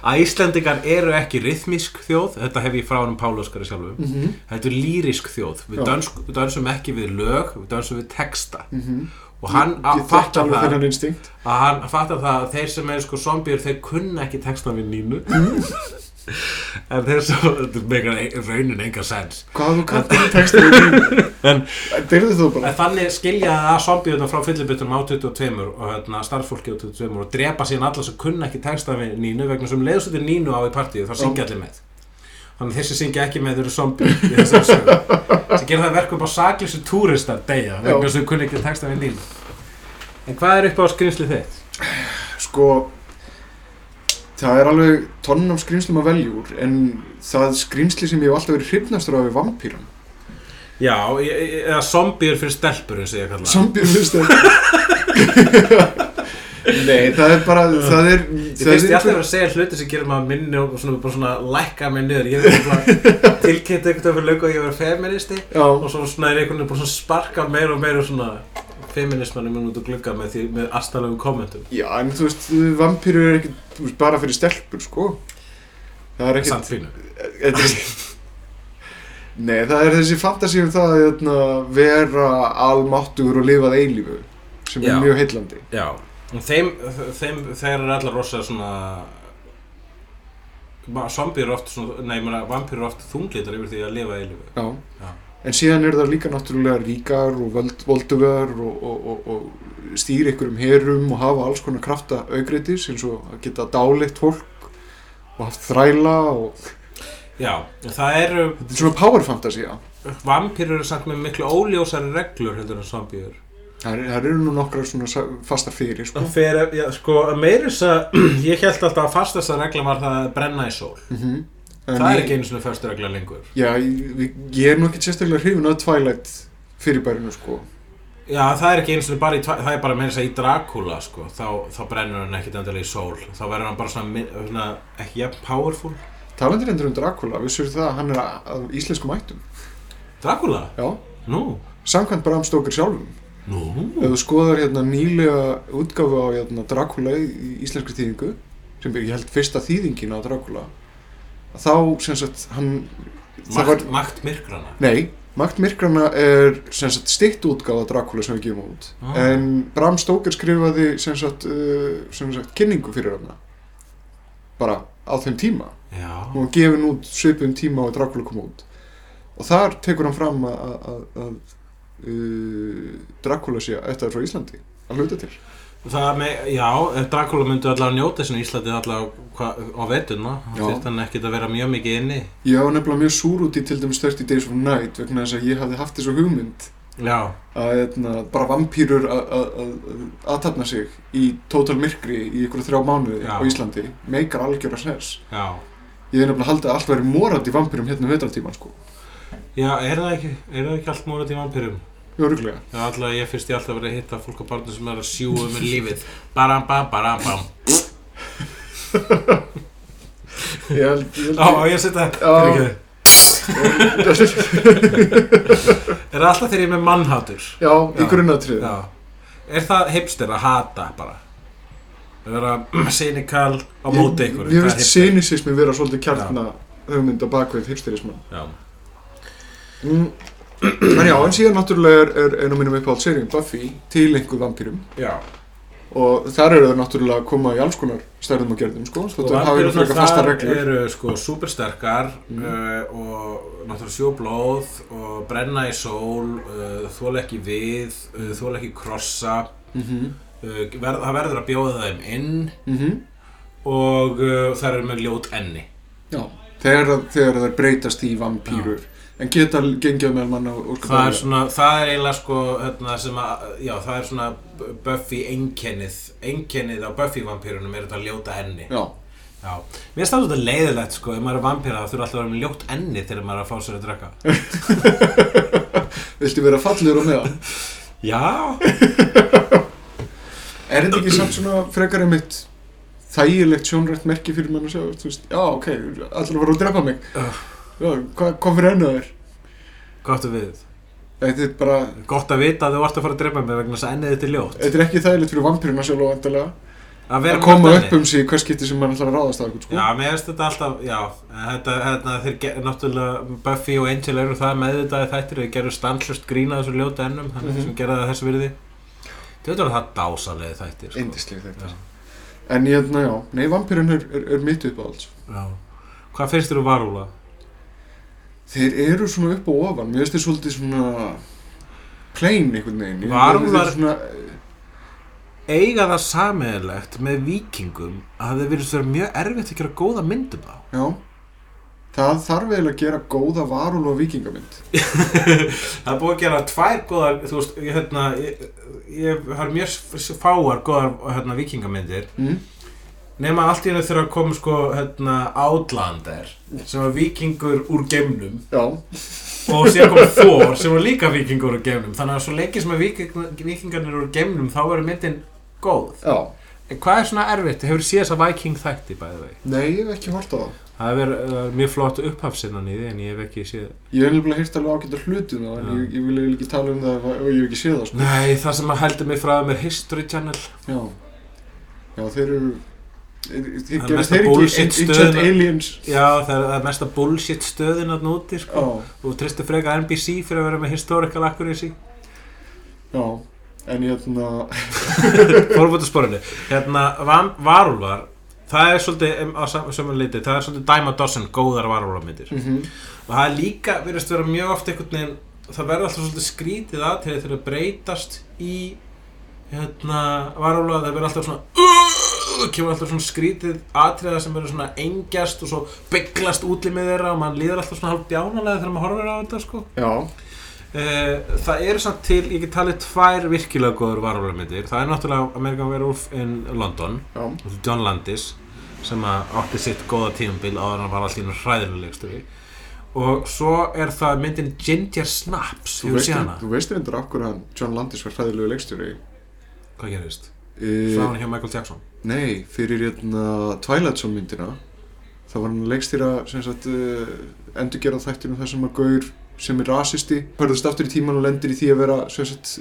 að Íslendingar eru ekki rithmísk þjóð þetta hef ég frá hann Páluskari sjálfum mm þetta er lýrisk þjóð við Já. dönsk, við dönsum ekki við lög, við dönsum við texta -hmm. og hann Ég- að ég þekki fattar alveg það þennan instinkt að hann fattar það að þeir sem er sko zombiur þeir kunna ekki texta við nínu en þeir svo þetta meikar ein- raunin enga sens hvað þú kallar þetta textur En- deyrðu þú bara en þannig skilja það að zombiurna frá fyllibitunum á 22 og hérna, starffólki á 22 og drepa síðan alla sem kunna ekki texta við nínu vegna um sem leiðsöldi nínu á í partíu þá syngja allir með þannig að þeir sem syngja ekki með þeir eru zombjur í þessum sögum sem gera það verkum á saklísu túristar deyja vegna sem kunna ekki texta við nínu en hvað er upp á skrýmsli þitt? sko það er alveg tonn af skrýmslum að veljúr en það skrýmsli sem ég hef alltaf verið hrifnastur af er vampýran Já, e- e- eða zombjur fyrir stelpur eins og ég kalla það. zombjur, veist það Nei, það er bara, það er Ég finnst ég alltaf að segja hluti sem gerir maður minni og svona, bara svona lækka mig niður Ég er bara tilkynnt einhvern veginn lög og ég verið feministi Já, og svo svona er einhvern veginn bara svona sparka meira og meira svona feminismanum út og glugga með því með astalögum kommentum já, en þú veist, vampýru er ekkit þú veist, bara fyrir stelpur, sko Það er ekkit samt fínu Þetta er- Nei, það er þessi fantasi um það að hérna, vera almáttugur og lifað eilífu sem Já. er mjög heillandi Já, en þeim, þeim þeir eru allar rosa svona ma- Zombie eru oft svona, nei, ég meina, vampýr eru oft þunglitar yfir því að lifa í lífi Já. Já. En síðan eru það líka náttúrulega ríkar og völd, voldugar og, og, og, og stýri ykkur um herum og hafa alls konar krafta aukreitis eins og að geta dáleitt fólk og haft þræla og Já, en það eru, þetta er svona power fantasy, já. vampýr eru samt með miklu óljósari reglur heldur en zombie eru Það eru- það eru nú nokkra svona sa- fastar fyrir, sko. Og Fyrir, já, sko, að meira þess að ég held alltaf að fastasta regla var það að brenna í sól. Mm -hmm. það er ekki einu svona föstu regla lengur. Já, ég, við- ég er nú ekki sérstaklega hrifin að Twilight fyrirbærinu, sko. Já, það er ekki einu svona bara í, tva- það er bara meira þess að í Dracula, sko, þá, þá brennur hann ekkit endilega í sól. Þá verður hann bara svona, mi- svona ekki jafn powerful. Talandir endur um Dracula, vissur það að hann er að- af íslenskum ættum. Dracula? Já, Nú? samkvæmt Bram Stoker sjálfum. Nú? Ef þú skoðar hérna nýlega útgáfu á hérna, Dracula í íslenskri þýðingu sem er, ég held fyrsta þýðingin á Dracula þá sem sagt hann það Makt, var, makt myrkrana. nei, Makt Myrkrana er sem sagt stitt útgáfa Dracula sem við gefum út Ah. en Bram Stoker skrifaði sem sagt, uh, sem sagt kynningu fyrir hana bara á þeim tíma Já. og hann gefin út svipum tíma og Dracula kom út og þar tekur hann fram að, að, að, að uh, Dracula sé eftir frá Íslandi að hluta til Það með, já, ef Dracula myndi allavega njóta sinni í Íslandi allavega hva, á vetuna. Já. Það þyrfti hann ekkit að vera mjög mikið inni. ég var nefnilega mjög súr út í til dæmis 30 Days of Night vegna þess að ég hafði haft þessu hugmynd Já. að etna, bara vampýrur að- að að- aðtapna sig í tótal myrkri í ykkur þrjá mánuði Já. á Íslandi meikar algjöra sens Já. ég hef nefnilega haldið að allt væri morandi vampýrum hérna um vetartíman sko, Já, er það ekki, er það ekki allt múrat í vampýrum? jörglega Já, alltaf ég finnst ég alltaf verið að hitta fólk á barnum sem er að sjúa um í lífið. Baram, bam, baram, bam. ég held, ég Á, á held ég að setja Já. það. Er það alltaf þegar ég er með mannhátur? já, í Já. grunnatrið Já. Er það hipster að hata bara? Að vera sinikal á móti Ég- ykkur? Ég það er veist hipster. sinisismi vera svolítið kjartna hugmynd á bakvið hipsterisman. Já. Mm. En já, en síðan náttúrulega er, er einu mínum uppáhald seríum Buffy til einhver vampýrum Já. og þar eru þau náttúrulega að koma í alls konar stærðum og gerðum, sko, Og þetta hafa verið frekar fastar þar reglur. eru sko supersterkar Mm. uh, og náttúrulega sjóblóð og brenna í sól, uh, þóla ekki við, uh, þóla ekki krossa. Mhm, Uh, verð, það verður að bjóða þeim inn mhm, og uh, það eru með ljót enni já, þegar, að- þegar þær breytast í vampýrur en geta gengið meðal manna og það er svona, það er eiginlega sko hérna, sem að, já það er svona Buffy einkennið, einkennið á Buffy vampýrunum er þetta ljóta enni Já, já, mér stafst þetta leiðilegt sko ef maður er vampýra það þurfa alltaf að vera með ljótt enni þegar maður er að fá sér að drekka viltu vera fallegur og meðan? já, Er þetta ekki samt svona frekar einmitt þægilegt sjónrætt merki fyrir mann að sjá, þú veist, já, ok, allir voru að drepa mig, Ugh. já, hvað kom fyrir hennu þér? gott að við Þetta er bara, gott að vita að þú vart að fara að drepa mig vegna þess að ennið þetta er ljótt þetta er ekki þægilegt fyrir vampirina sjálf og endalega, að að vera með koma ljótt enni. upp um sig í hvers skipti sem mann ætlar að ráðast að eitthvað, sko. Já, mér finnst þetta alltaf, já, en þetta, þetta þeir gerðu náttúrulega, Buffy og Angel eru það meðvitaði þættir, þeir gerðu stanslust grína þessu ljóta ennum, þannig Mhm. sem gerða það þessu virði. Þetta eru það dásalegi þættir, sko. Indislega þetta. Já. En ég, na, já, nei, vampirinn er, er, er mitt upp á alls. Já. Hvað finnst þér um varúla? Þeir eru svona upp og ofan, mér finnst þeir svolítið svona plain einhvern veginn. Ég- Varúlfar- þeir eru svona, Eiga það sameigilegt með vikingum að þeir virðist vera mjög erfitt að gera góða myndum þá. Já, það þarf eiginlega að gera góða varul og vikingamynd. Það er búið að gera tvær góðar, þú veist, ég, hérna, ég, ég har mjög s- fáar góðar, hérna, vikingamyndir Mm? Nefna allt í hennu þurfa að koma sko hérna Outlander sem var vikingur úr geimnum Já, og síðan kom Thor sem var líka vikingur úr geimnum þannig að svo leikið sem að viking, vikingarnir eru úr geimnum þá verður myndin góð já, En hvað er svona erfitt? Hefur séð þess að Viking þætti bæði vegi? Nei, ég hef ekki hort á það Það er uh, mjög flott upphafsinnan í því en ég hef ekki séð Ég hef nefnilega hýrt alveg ágæta hlutum en Já. ég, ég vil eiginlega ekki tala um það ef- ef ég hef ekki séð það sko. Nei, það sem að heldur mig frá þeim er History Channel Já, já þeir eru þeir er gerist mesta þeir ekki bullshit in- Ancient stöðuna. Aliens Já, það er, það er mesta bullshit stöðin að núti sko. Já, og tristu freka NBC fyrir að vera með historical accuracy já En hérna, Fórbúta sporinu Hérna, van- varúlfar það er svolítið um, á saman liti það er svolítið dæma dossin góðar varúlfarmyndir mhm, og það er líka, verðist vera mjög oft einhvern veginn, það verður alltaf svolítið skrítið að þegar þeir breytast í hérna, varúlfa það verður alltaf svona kemur alltaf svona skrítið atriða sem verður svona engjast og svo bygglast útlimið þeirra og mann líður alltaf svona hálf bjánalega þegar maður horfir á þetta sko já, Eh, það eru samt til, ég get talið tvær virkilega góður varúlarmyndir það er náttúrulega American Werewolf in London já, John Landis sem að átti sitt góða tímabil áður en hann var allt í einu hræðilegstur og svo er það myndin Ginger Snaps, þú hefur veist, séð hana þú veist endur af hverju hann John Landis var hræðilegu leikstjóri hvað gerist? e, Sá hann hjá Michael Jackson Nei, fyrir hérna Twilight Zone myndina þá var hann að leikstýra sem sagt uh, endurgera þættinu þar sem að gaur sem er rasisti, hörðast aftur í tíman og lendir í því að vera sem sagt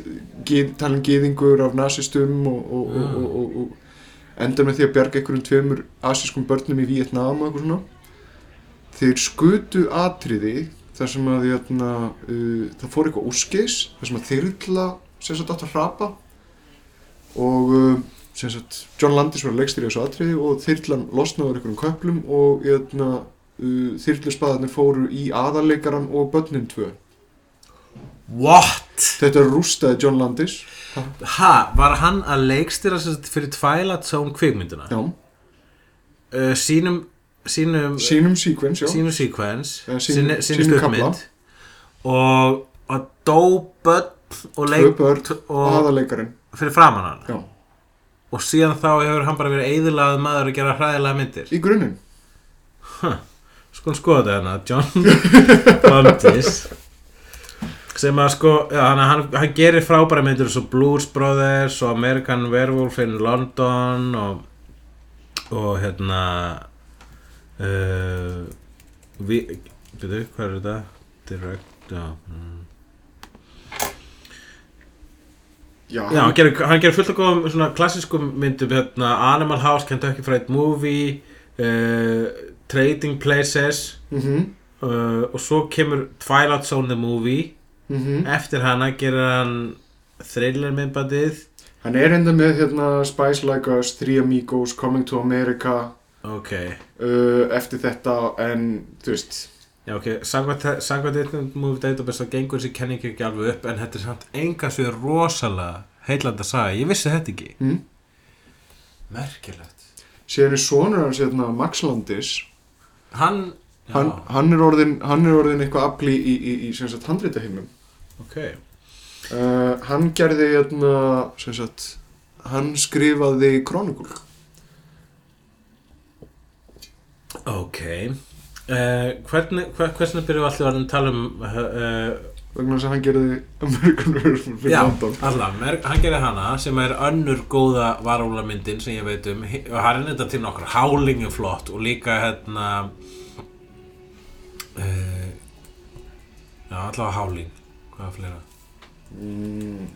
geð, talin geðingur af nasistum og, og, Ah. og, og, og, og endar með því að bjarga einhverjum tveimur asískum börnum í Vietnam og eitthvað svona þeir skutu atriði þar sem að hérna, uh, það fór eitthvað úskeis þar sem að þyrla sem sagt átt að hrapa og uh, sem sagt, John Landis var að leikstýra þessu atriði og þyrlan losnaður einhverjum köplum og jötna, uh, þyrluspaðarnir fóru í aðarleikaran og börnin tvö. What? Þetta rústaði John Landis. Ha, var hann að leikstýra sem sagt fyrir Twilight Zone kvikmyndina Já, uh, sínum sínum, sínum sequence, já. sínum sequence Eh, sínum- sínum, sínum sínum kafla. stuppmynd og, og dó börn og Tvö leik börn t- og og aðarleikaran. fyrir framan hann Já, og síðan þá hefur hann bara verið eðilagð maður að gera hræðilega myndir í grunninn. sko skoða þetta hérna John Bandis sem að sko já, hann, hann, hann gerir frábæra myndir svo Blues Brothers og American Werewolf in London og, og hérna uh, vi, byrju, hvað er þetta? Direct já, mm. Já, Já, hann gerir, hann gerir fullt af góðum svona klassískum myndum hérna, Animal House, Kentucky Fried Movie uh, Trading Places Mhm, uh, og svo kemur Twilight Zone the Movie mhm. eftir hana gerir hann thriller myndbandið Hann er enda með hérna Spice Like Us, Three Amigos, Coming to America ok, uh, eftir þetta en þú veist, já ok samkvæmt samkvæmt einnig movie database þá gengur þessi kenning ekki alveg upp en þetta er samt enga svo rosalega heillanda saga, ég vissi þetta ekki Mm. merkilegt síðan er sonur hans hérna Max Landis hann, já, hann, hann, er orðin, hann er orðin eitthvað afli í, í, í sem sagt handritaheimum ok uh, hann gerði hérna sem sagt hann skrifaði krónikul Ok uh, hvernig, hver, Hvernig byrjum við alltaf að tala um uh, uh, vegna þess að hann gerði American Werewolf fyrir Já, London alla, Mer- hann gerir hana sem er önnur góða varúlamyndin sem ég veit um Hi- og hann er þetta til nokkur hálingu flott og líka hérna uh, Já, allavega háling Hvað er fleira? mm.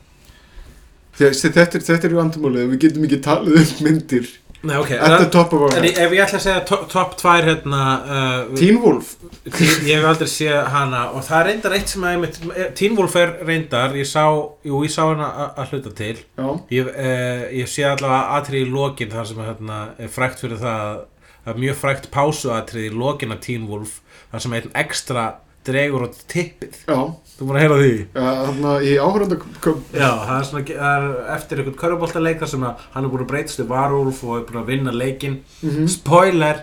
Þessi, þetta, er- þetta er ju andamálið við getum ekki talið um myndir Nei, ok Þetta er en, topp af en áhæð ég- ef ég ætla að segja to- topp tvær hérna uh, Teen Wolf Teen- ég hef aldrei séð hana og það er reyndar eitt sem að einmitt, Teen Wolf er reyndar, ég sá, jú, ég sá hana a- að hluta til já, Ég, uh, ég sé allavega atrið í lokin þar sem hérna, er frækt fyrir það að- það er mjög frækt pásuatrið í lokin af Teen Wolf þar sem einn ekstra dregur á tippið já Þú múin að heyra því? hann í áhverjanda Já, það er, svona, það er eftir einhvern körfuboltaleik þar sem að hann er búin að breytast í varúlf og er búin að vinna leikinn Spoiler!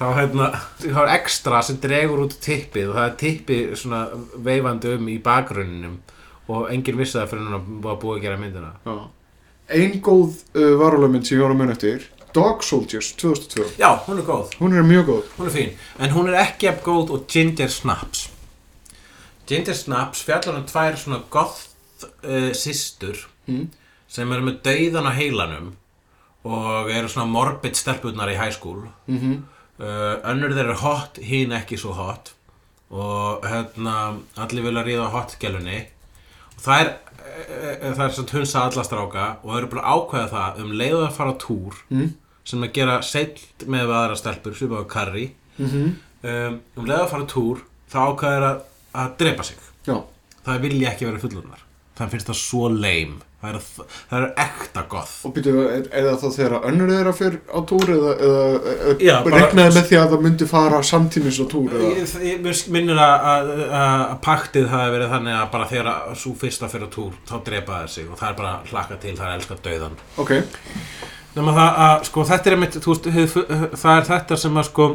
Þá hérna, það er ekstra sem dregur út tippið og það er tippið svona veifandi um í bakgrunninum og enginn vissi það fyrir hann var búið að gera myndina ein góð uh, varulegmynd sem ég var að mun eftir Dog Soldiers 2002 Já, hún er góð hún er mjög góð Hún er fín, en hún er ekki af góð og Ginger Snaps Ginger Snaps fjallar um tvær svona goth uh, systur Mm. sem eru með dauðan á heilanum og eru svona morbid stelpurnar í high school uh, önnur þeir eru hot, hín ekki svo hot og hérna allir vilja ríða á hotgelunni og það er eh, það er svona hunsa alla stráka og þau eru búin að ákveða það um leiðu að fara á túr Mm. sem að gera seilt með við aðra stelpur svipað og karri Mm -hmm. um, um leiðu að fara á túr þá ákveða þeir að, að drepa sig Já, það vilja ekki vera fullurnar það finnst það svo lame það eru, það eru ekta goth og byrju, er, er það þá þegar að önnur þeirra fyrir á túr eða, eða, Já, eða bara- regnaði með því að það myndi fara samtímis á túr eða? Ég- ég- mér minnir að, að, að að paktið hafi verið þannig að bara þegar að sú fyrsta fyrir á túr þá drepa þeir sig og það er bara að hlakka til það er elska dauðan Ok, Nefna það að, sko, þetta er einmitt, þú veist, hef, það er þetta sem að, sko,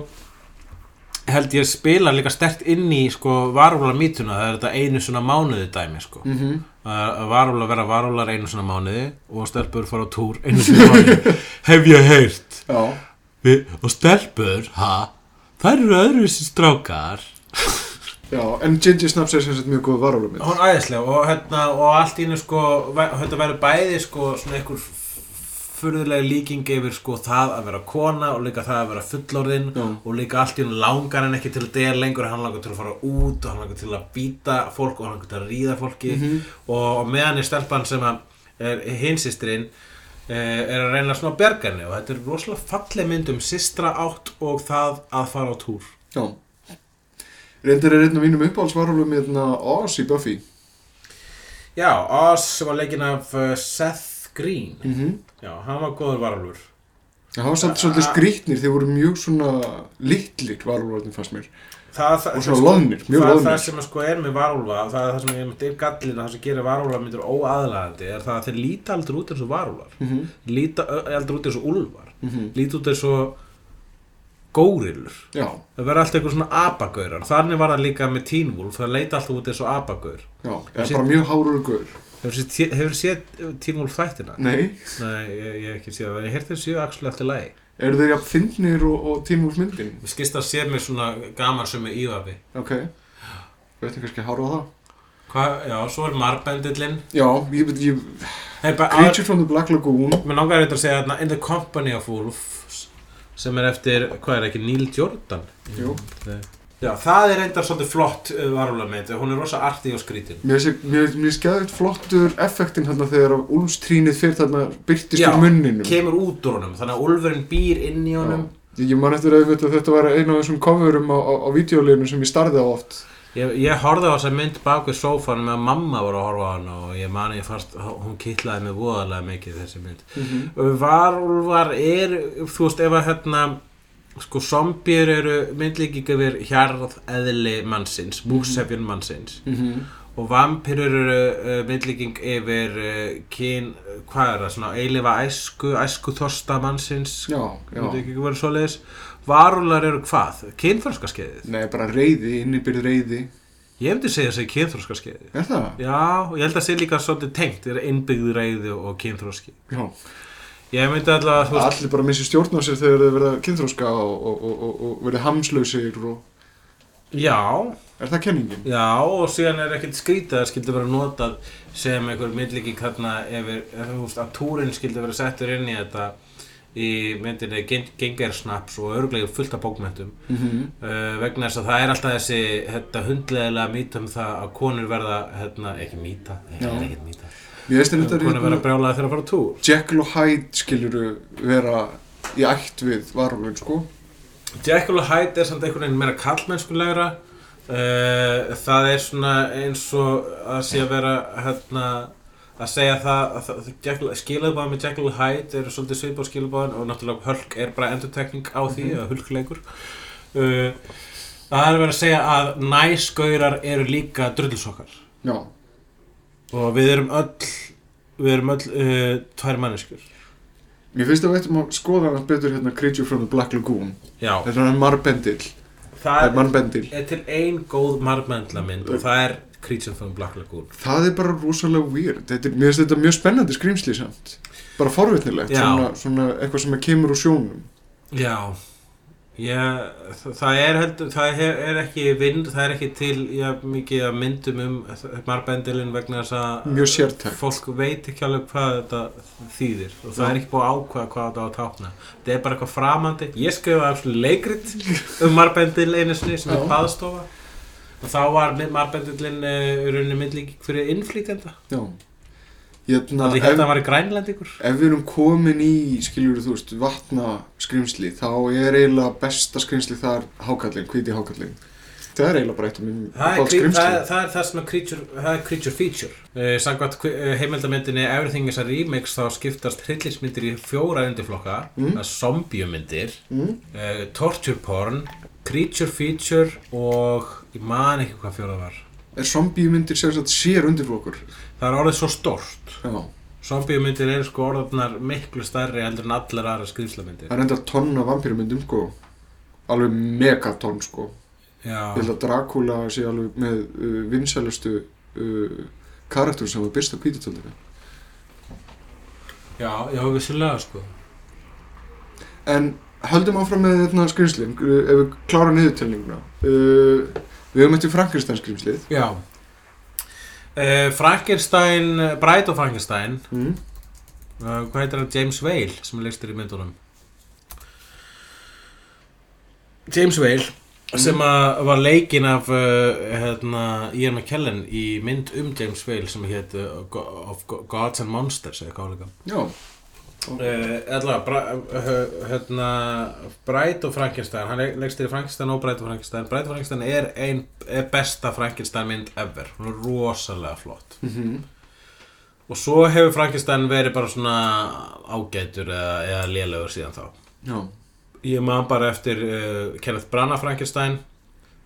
held ég spila líka stert inn í, sko, varúla mítuna, það er þetta einu svona mánuði dæmi, sko. mm Að varúla vera varúlar einu svona mánuði og stelpur fara á túr einu svona mánuði. Hef ég heyrt. já, Við, og stelpur, ha, þær eru öðruvísi strákar. já, en Ginger Snaps er sem sagt mjög góð varálu mynd. Hún æðislega og, hérna, og allt í hennu, sko, ve- þetta verður bæði, sko, svona einhver furðulega líking yfir sko það að vera kona og líka það að vera fullorðinn Já. og líka allt í hún langar hann ekki til að deyja lengur hann langar til að fara út og hann langar til að býta fólk og hann langar til að ríða fólki og, og meðan er stelpan sem að er hinsistrin er að reyna svona að bjarga henni og þetta er rosalega falleg mynd um systra átt og það að fara á túr Já. Reyndar er einn af mínum uppáhalds varálu myndna Oz í Buffy. Já, Oz sem var leikinn af uh, Seth Green Mm -hmm. Já, hann var góður varalur Það var Ah. samt svolítið skrýtnir, þeir voru mjög svona litlir varúlarnir fannst mér. það, það, sko- Og svona loðnir, mjög það er loðnir. það sem að sko er með varúlfa og það er það sem ég myndi er gallin það sem gerir varúlfa myndir óaðlæðandi er það að þeir líta aldrei út eins og varúlfar Mm -hmm. líta ö, aldrei út eins og úlfar Mm líta út eins og górilur Já, það verður alltaf einhver svona apagaurar þannig var það líka með Teen Wolf það leita alltaf út eins og apagaur já, það Þessi- er bara mjög hárur gaur. hefur séð, hefur séð Teen Wolf þættina? Nei, Nei, ég, ég hef ekki séð það en ég heyrti þessu axlu alltaf lægi eru þeir jafn fyndnir og, og tímúls myndin? Mér skist það séð mér svona gaman sem er ívafi Ok, veitum kannski að hárfa það. Hvað, já, svo er marbendillinn Já, ég veit ekki, Hey, bara- Creature from the Black Lagoon, Mér langar eitthvað að segja þarna In the Company of Wolves sem er eftir, hvað er ekki, Neil Jordan jú. Já, það er reyndar svolítið flott varulameit hún er rosa artig og skrítin Mér sé- mér finnst skæðið flottur effektin hérna þegar að úlmstrínið fyrir þarna byrtist Já, úr munninum. kemur út úr honum, þannig að Ulfurinn býr inn í honum Ég ég man eftir að þetta, þetta var eina af þessum coverum á, á, á videolínu sem ég starði á oft. Ég, ég horfði á þessa mynd bak við sófan með að mamma voru að horfa á hann og ég mani ég fast, hún kittlaði mig voðalega mikið þessi mynd Varúlfar er, þú veist, ef að hérna sko, zombjur eru myndlíkik yfir hjarð eðli mannsins, Mhm. búksefjun mannsins -hmm. og vampirur eru uh, myndlíking yfir uh, kyn, hvað er það, svona eilifa æsku, æsku þorsta mannsins Já, já. myndi ekki verið svoleiðis varúlar eru hvað? Kynþróskaskeiðið? Nei, bara reyði, innibyrð reyði. Ég hefndi segja þessi kynþróskaskeiðið Er það? Já, og ég held að sé líka svolítið tengt, er innbyggð reyði og kynþróski Já. Ég myndi allavega, þú veist, Allir bara missi stjórn á sér þegar þeir verða kynþróska og, og, og, og, og verða hamslausir og... já Er það kenningin? Já, og síðan er ekkert skrítið að það skildi vera notað sem einhver myndlíking þarna yfir, eh, þú veist, að túrin skildi vera settur inn í þetta í myndinni Gengersnaps og örglega fullt af bókmentum Mm -hmm. uh, vegna þess að það er alltaf þessi þetta hundlegilega mýta um það að konur verða, hérna, ekki mýta, það Já. er ekkert mýta Ég veist en þetta er konur verða hérna... brjálaði þegar að fara á túr Jekyll og Hyde skiluru vera í ætt við varulvin, sko. Jekyll og Hyde er samt einhvern veginn meira kallmennskulegra uh, það er svona eins og að sé að vera hérna, að segja það, að það Jekyll- skilabáðan með Jekyll og Hyde eru svolítið svipað skilabáðan og náttúrulega Hulk er bara endurtekning á því eða hulkleikur uh, það er verið að segja að næskaurar eru líka drullusokkar Já. og við erum öll við erum öll uh, tvær manneskur Mér finnst að við ættum að skoða hann betur hérna Creature from the Black Lagoon. já, Þetta er hann marbendil. Það er marbendil. er til ein góð margmendla mynd og það er Creature from Black Lagoon Það er bara rosalega weird. Þetta, er- mér finnst þetta mjög spennandi skrýmsli samt. Bara forvitnilegt. Já. Svona, svona eitthvað sem kemur úr sjónum. Já, Já, þa- það er, heldur, það he- er ekki vind, það er ekki til já, mikið að myndum um marbendilinn vegna þess að Mjög sértækt. fólk veit ekki alveg hvað þetta þýðir og það er ekki búið að ákvaða hvað þetta á að tákna þetta er bara eitthvað framandi ég skrifaði absolutt leikrit um marbendil einu sinni sem Já. er baðstofa og þá var marbendilinn uh, rauninni myndlík fyrir innflýtenda Já. Hérna, því ef, hérna var í grænlendingur ef við erum komin í, skiljur þú veist, vatna skrimsli, þá er eiginlega besta skrimsli þar hákallin, hvíti hákallin. Það er eiginlega bara eitt af mínum Það er, uppáhalds krí- það, er- skrimsli. það er það sem er creature, það er creature feature. Uh, Samkvæmt uh, heimildamyndinni Everything is a Remix þá skiptast hryllingsmyndir í fjóra undirflokka. Mm. Það er zombiumyndir, Mm? uh, torture porn, creature feature og ég man ekki hvað fjóra var. Er zombiumyndir sérstaklega sér undir okkur? Það er orðið svo stórt. Já. Zombiumyndir eru sko orðarnar miklu stærri heldur en allar aðra skrýmslamyndir. Það er enda tonn af vampýrumyndum, sko. Alveg megatonn, sko. Já, Ég held að Dracula sé alveg með uh, vinsælustu uh, karakter sem var byrst á kvítutöldinu. já, já, vissulega sko. En höldum áfram með þarna skrimslin, uh, ef við klára niðurtelninguna. Uh, við höfum eftir Frankenstein skrimslið. Já. Uh, Frankenstein, Bride of Frankenstein Mm. Uh, hvað heitir hann? James Whale sem er leikstur í myndunum James Whale Mm-hmm. sem að var leikinn af uh, hérna, Ian McKellen í mynd um James Whale sem hétt uh, Go- of Go- Gods and Monsters eða hvað líka Já, uh, Alla, bra, uh, hérna Bright og Frankenstein hann leik- leikstur í Frankenstein og Bright og Frankenstein Bright og Frankenstein er ein er besta Frankenstein mynd ever hún er rosalega flott mm og svo hefur Frankenstein verið bara svona ágætur eða, eða lélegur síðan þá já, Ég man bara eftir uh, Kenneth Branagh Frankenstein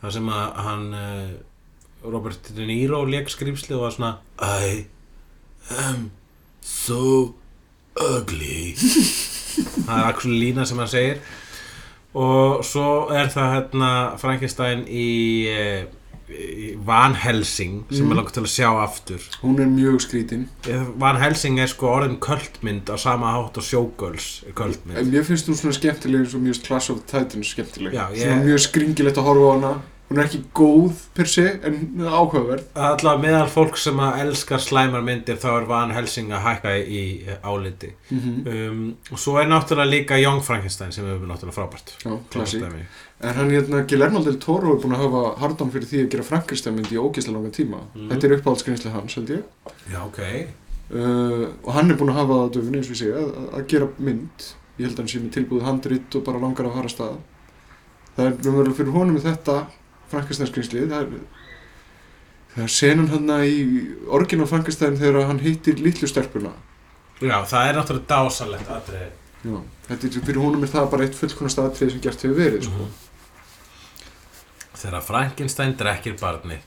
þar sem að hann uh, Robert De Niro leik skrýmsli og var svona I am so ugly Það er akkur lína sem hann segir og svo er það hérna Frankenstein í, uh, í Van Helsing sem mm. Mm. er langt til að sjá aftur hún er mjög skrítin. Van Helsing er sko orðin kultmynd á sama hátt og Showgirls er kultmynd En mér finnst hún svona skemmtileg eins og mjög Clash of Titans skemmtileg. Já, ég- Svona mjög skringilegt að horfa á hana. Hún er ekki góð per se, en áhugaverð. Alltaf meðal fólk sem að elskar slæmar myndir þá er Van Helsing að hækka í í áliti Mm um, og svo er náttúrulega líka Young Frankenstein sem er náttúrulega frábært Já, klassík. Dæmi. En hann hérna, Guillermo del Toro er búin að hafa hardan fyrir því að gera Frankensteinmynd í ógeðslega langa tíma. Mhm. Þetta er uppáhaldsgreinslega hans, held ég. Já, ok Uh, og hann er búin að hafa það á döfunni, eins og ég segja, að, að gera mynd. Ég held að hann sé með tilbúið handrit og bara langar að fara að staða. Það er raunverulega fyrir honum með þetta Frankensteinskringslið. Það er, það er senan hann í orgin á Frankenstein þegar hann hittir litlu stelpuna. Já, það er náttúrulega dásalegt atriði Já. Þetta er fyrir honum er það bara eitt fullkonast atrið sem gert hefur verið, Mhm. sko. Þegar Frankenstein drekkir barni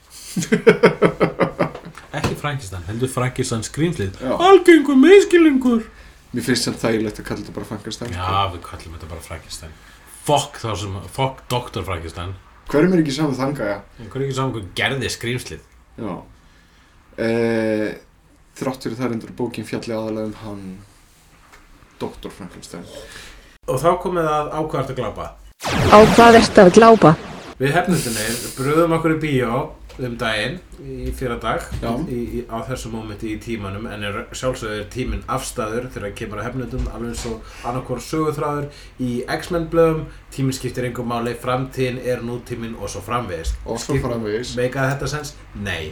Ekki Frankenstein, heldur Frankenstein skrýmslið Já. Algengur miskilingur Mér finnst samt þægilegt að kalla þetta bara Frankenstein. sko. Já, við kallum þetta bara Frankenstein Fokk þá sem, fokk Dr. Frankenstein Hverjum er ekki saman þanga, já? Hvernig ekki saman hvað gerði skrýmslið Já. Eh, þrátt fyrir það er endur bókin fjalli aðalega um hann, Dr. Frankenstein. Og þá komið að ákvært að glapa. Á hvað ert að glápa? Við hefnundinir bröðum okkur í bíó um daginn í fyrra dag Já. í, í, á þessu mómenti í tímanum en er, sjálfsögðu er tíminn afstæður þegar kemur að hefnundum alveg eins og annarkor sögutráður í X-Men blöðum tíminn skiptir engum máli, framtíðin er nútíminn og svo framvegis. Og svo Skip- framvegis. Meikaði þetta sens? Nei.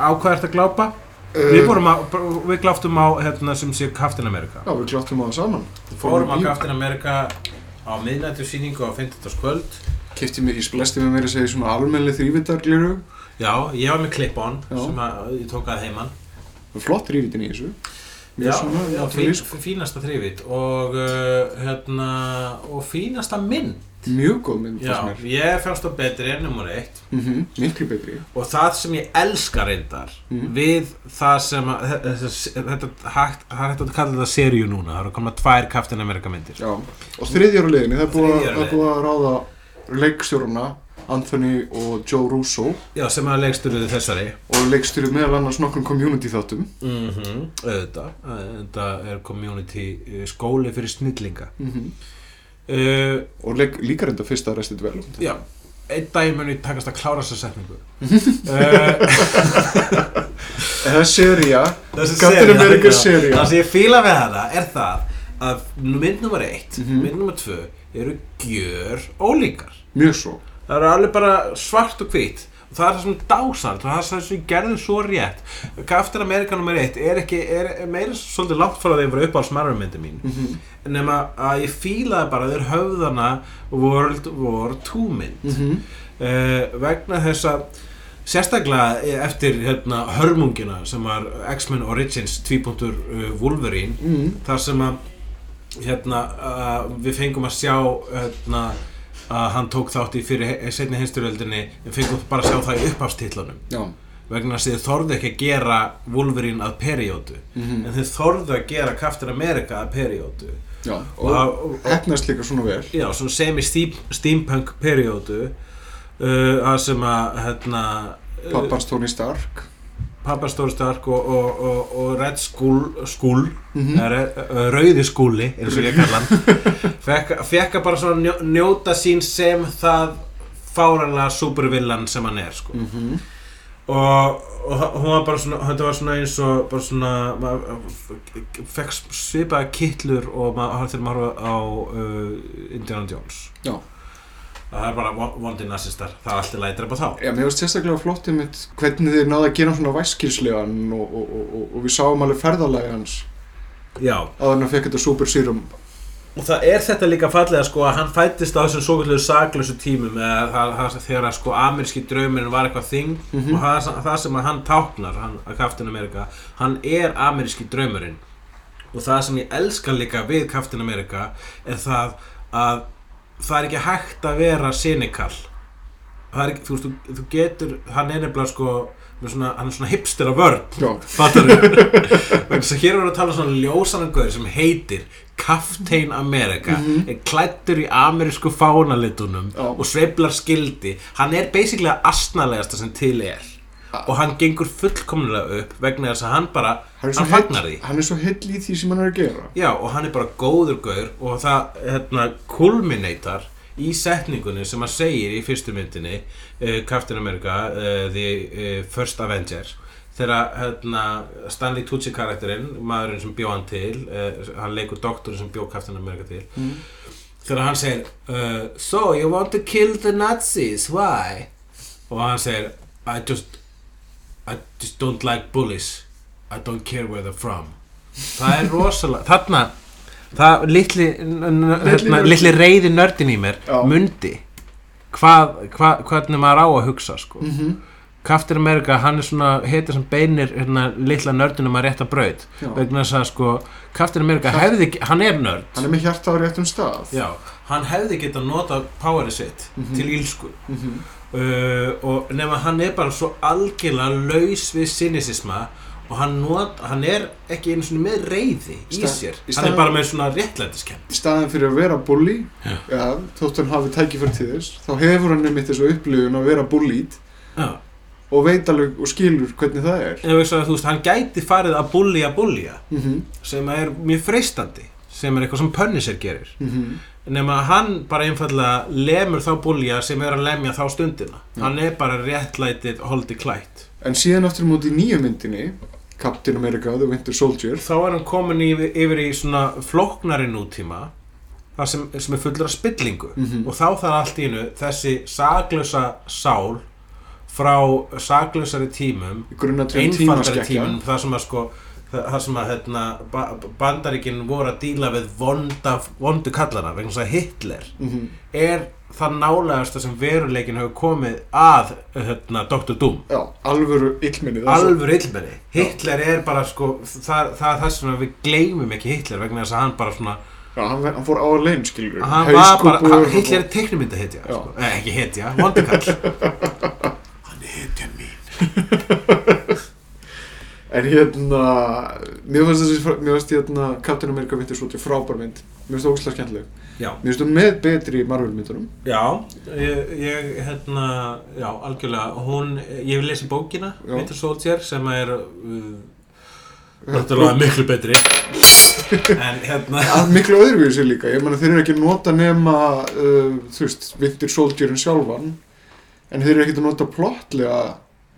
Á hvað ertu að glápa? eh, Við, vorum á, við gláftum á hérna sem sé Captain America. Já, við kláttum á það saman. Fórum á í- Captain America á miðnættu síningu á 50. Keypti mér, ég splesti mér meira að segja svona almennileg þrývitargliru. Já, ég var með clip-on Já. sem að, ég tók að heiman Flott þrývitin í þessu. Já, Mjög svona, já, fín, náttúrulega. fínasta þrývit og, uh, hérna, og fínasta mynd Mjög góð mynd, Já, fannst mér. ég fannst það betri en nummer eitt Mm Miklu betri. og það sem ég elska reyndar Mhm. við það sem að, þetta, þetta, hægt, það er hægt að kalla þetta seríu núna, það eru að koma tvær Captain America myndir Já. Og þriðjara leiðinni, það er búið að- Mm. Þriðja það er búið að ráða leikstjórna, Anthony og Joe Russo Já, sem að leiksturuðu þessari og leikstjórið meðal annars nokkrum community þáttum. mm -hmm. auðvitað, auðvitað er community eh, skóli fyrir snillinga Mm Eh, uh, og leik, líka reynda fyrsta restið vel Já, einn dag mun ég takast að klára þessa setningu uh, eða seria Þessi Captain sería, America já. sería. Það sem ég fíla við hana er það að mynd nummer eitt, mynd nummer tvö eru gjör ólíkar mjög svo Það eru alveg bara svart og hvít og það er það sem er dásalt og það er það sem gerðin svo rétt Captain America nummer eitt er ekki, er meira svolítið langt frá þeim fyrir upp á smarrumyndi mín nema að ég fílaði bara þeir höfðana World War 2 mynd Mhm. uh, vegna þess að sérstaklega eftir hérna, hörmungina sem var X-Men Origins 2. Uh, Wolverine mm. þar sem að hérna, uh, við fengum að sjá hérna, að hann tók þátt í fyrir he- seinni heimsturöldinni en fengum bara að sjá það í upphafstillanum já, vegna þess að þið þorðu ekki að gera Wolverine að periodu Mhm. en þið þorðu að gera Captain America að periodu já og, og og, og hefnast líka svona vel já, svona semi-steampunk periodu uh, að sem að hérna, pappans Tony Stark pappa Stóri Stark og, og, og, og Red Skull, Skull uh, Rauði Skúli eins og ég kalla hann fekk, fekk að bara svona njó, njóta sín sem það fáranlega supervillan sem hann er sko. -hmm. og, og það- hún var bara svona þetta var svona eins og bara svona maður f- fekk svipaða kittlur og maður þegar maður horfa á uh, Indiana Jones Já. það er bara von- vondi nazistar það er alltaf lætir upp á þá Já, mér varst sérstaklega flott um hvernig þið náðu að gera svona væskilslegan og, og, og, og- og við sáum alveg ferðalagi hans já að hann fekk þetta super serum Og það er þetta líka fallega sko að hann fættist á þessum svo kvöldlegu saklösu tímum eða það, það, þegar að sko ameríski draumurinn var eitthvað þing Mhm. og það, það sem að hann táknar, hann, að Captain America, hann er ameríski draumurinn og það sem ég elska líka við Captain America er það að það er ekki hægt að vera cynical það er ekki, þú veist, þú, þú getur, hann er nefnilega sko, með svona, hann er svona hipster að vörn Já, Fattar þú? Vegna þess að hér voru að tala um svona ljósanangur sem heitir Captain America er klættur í amerísku fánalitunum Mhm. Já. og sveiflar skildi hann er basically að astnalegasta sem til er og hann gengur fullkomlega upp vegna þess að hann bara hann er svo hann fagnar því heill- hann er svo heill í því sem hann er að gera Já, og hann er bara góður gaur og það hérna, kulminatar í setningunni sem hann segir í fyrstu myndinni uh, Captain America uh, The uh, First Avenger þegar hérna, Stanley Tucci karakterinn, maðurinn sem bjó hann til uh, hann leikur doktorinn sem bjó Captain America til þegar hann segir uh, So you want to kill the Nazis, why? og hann segir I just, I just don't like bullies I don't care where they're from það er rosalega, þarna það litli, n- n- hérna, nörd. litli reyði nördin í mér Já. mundi hvað, hvað, hvernig maður á að hugsa sko. mm -hmm. Captain America, hann er svona heitir sem beinir hérna, litla nördinum að rétta braut Já. vegna þess að sko, Captain America hefði, ekki- hann er nörd Hann er með hjarta á réttum stað Já, hann hefði getað notað powerið sitt til ílsku Mhm. uh, og nema hann er bara svo algjörlega laus við sinisisma og hann, not, hann er ekki einu svona með reyði í Sta- sér í hann er staðinn- bara með svona réttlætiskenn Í staðan fyrir að vera bully Já. ja, þótt hann hafi tækifæri til þess þá hefur hann nefnitt þessu upplifun að vera bullied Já, og veit alveg og skilur hvernig það er ef ekki að þú veist, hann gæti farið að búlja búlja mm -hmm. sem er mjög freistandi sem er eitthvað sem Punisher gerir Mm nema að hann bara einfallega lemur þá búlja sem er að lemja þá stundina hann er bara réttlætið holdi klætt en síðan aftur á móti í nýju myndinni Captain America The Winter Soldier þá er hann komin yfir, yfir í svona flóknari nútíma það sem, sem er fullur af spillingu Mhm. og þá þarf allt í hennu þessi saglösa sál frá saglösari tímum í grunna tveim einfaldari tímaskekkja tímum þar sem að sko þar þar sem að hérna, ba bandaríkin voru að díla við vonda, vondu kallana vegna þess að Hitler mm er það nálegasta sem veruleikin hefur komið að hérna, Dr. Doom já, alvöru illminni það er svo- alvöru illmenni Hitler er bara sko það, það er það sem við gleymum ekki Hitler vegna þess að hann bara svona já, hann, hann fór á að lein skilur hann var bara, hann, Hitler er teiknumynda hetja Já. sko. eh, ekki hetja, vondukall hann er hetjan mín En hérna, mér fannst þessi, frá- mér fannst hérna Captain America Winter Soldier frábær mynd Mér finnst það ógæslega skemmtileg já, Mér finnst það með betri Marvel myndunum já ég, ég hérna, já, algjörlega hún, ég hef lesið bókina Já. Winter Soldier sem er uh, náttúrulega miklu betri en hérna að miklu öðruvísi líka ég meina þeir eru ekki að nota nema uh, þú veist, Winter Soldierin sjálfan en þeir eru ekki að nota plottlega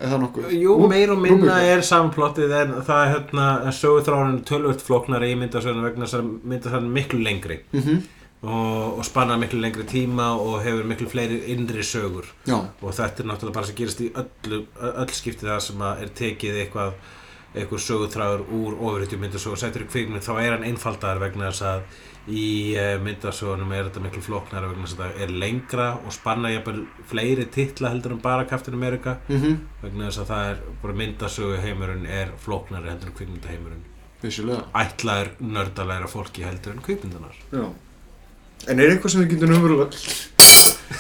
eða nokkuð Uh, Jú, Ú, meir og minna Rúbík. er samplottið en það er hérna sögutránin tölvöld flóknari í myndasögnu vegna þess að myndasögnu miklu lengri Mhm. og, og spanna miklu lengri tíma og hefur miklu fleiri innri sögur já, og þetta er náttúrulega bara sem gerist í öllu, öll skipti það sem að er tekið eitthvað eitthvað sögutráður úr ofurhættu myndasögu og settur í kvikmynd þá er hann einfaldar vegna þess að í eh, myndasögunum er þetta miklu flóknara vegna þess að það er lengra og spanna jafnvel fleiri titla heldur en bara Captain America mhm, vegna þess að það er bara myndasögu heimurinn er flóknari heldur en kvikmyndaheimurinn vissulega ætlaður nördalæra fólki heldur en kvikmyndanar já. en er eitthvað sem við getum umverulega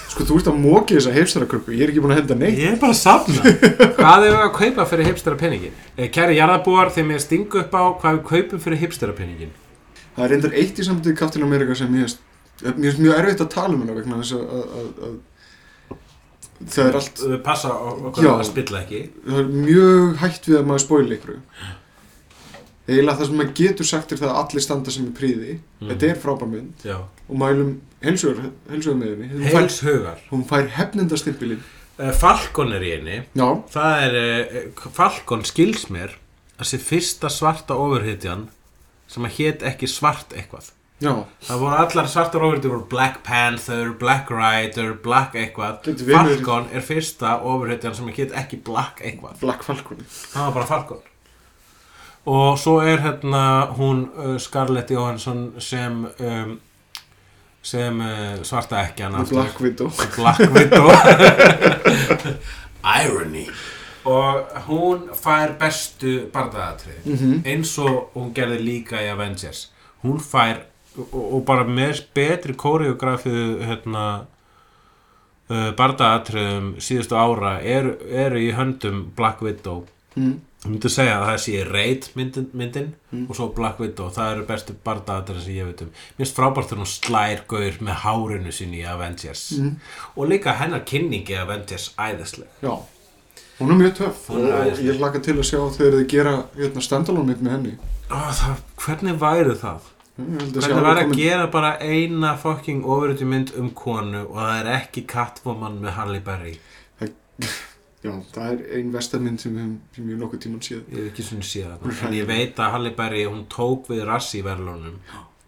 sko, þú ert að móki þessa heimstaraköku ég er ekki búin að henda neitt er bara að safna hvað hefur við að kaupa fyrir hipstera peningin? kæri jarðabúar þegar mér stingu upp á hvað við kaupum fyrir hipstera peningin það er reyndar eitt í samtíð Captain America sem ég er mjög, mjög erfitt að tala um hana vegna þess að, að, að, að það er allt passa okkur Já. að spilla ekki það er mjög hægt við að maður spóila ykkur eiginlega það sem maður getur sagt er það að allir standa sem er príði Mm. þetta er frábær mynd Já. og mælum heilsugur með henni hún fær, heils hugar hún fær hefnindastimpilinn Eh, Falcon er í henni já, það er, eh, Falcon skils mér þessi fyrsta svarta ofurhytjan sem að hét ekki svart eitthvað já, Það voru allar svartar ofurhetjur voru Black Panther, Black Rider, Black eitthvað Getur verið- Falcon er fyrsta ofurhetjan sem get ekki Black eitthvað Black Falcon Það var bara Falcon Og svo er hérna hún uh, Scarlett Johansson sem um, sem uh, svarta ekkjan og aftur. Black Widow Black Widow Irony Og hún fær bestu bardaðatrið eins og hún gerði líka í Avengers Hún fær og, og bara með betri kóreografið hérna uh, bardaðatriðum síðustu ára eru er í höndum Black Widow mm. Ég myndi segja að það sé reit myndin, myndin og svo Black Widow, það eru bestu bardaðatir sem ég veit um. Mér finnst frábært þegar hún slær gaur með hárinu sinni í Avengers Mm. og líka hennar kynningi í Avengers æðisleg. já, hún er mjög töff Hún er og æðisleg. ég laka til að sjá þegar þið gera hérna, standalone mynd með henni Ó, það, hvernig væri það? Ég held að sjá Hvernig væri komin- að gera bara eina fucking ofurutjum mynd um konu og það er ekki Catwoman með Halle Berry. já, það er ein vestamynd sem, við- sem ég nokkuð tíman séð Ég hef ekki svona síðan þetta. En ég veit að Halle Berry, hún tók við rassi verðlunum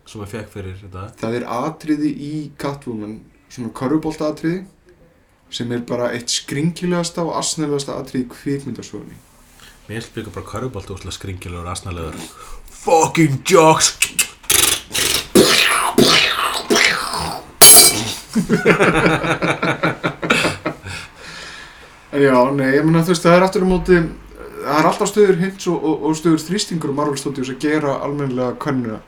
sem að fekk fyrir þetta. það er atriði í Catwoman svona körfubolt atriði sem er bara eitt skringilegasta og asnalegasta atriði í kvikmyndasögunni Mér finnst líka bara körfubolt úrslega skringilegur og asnalegur Fucking jocks en já, nei, ég meina þú veist, það er aftur á móti það er alltaf stöður hints og, og, og stöður þrýstingur og Marvel Studios að gera almennilega hvernina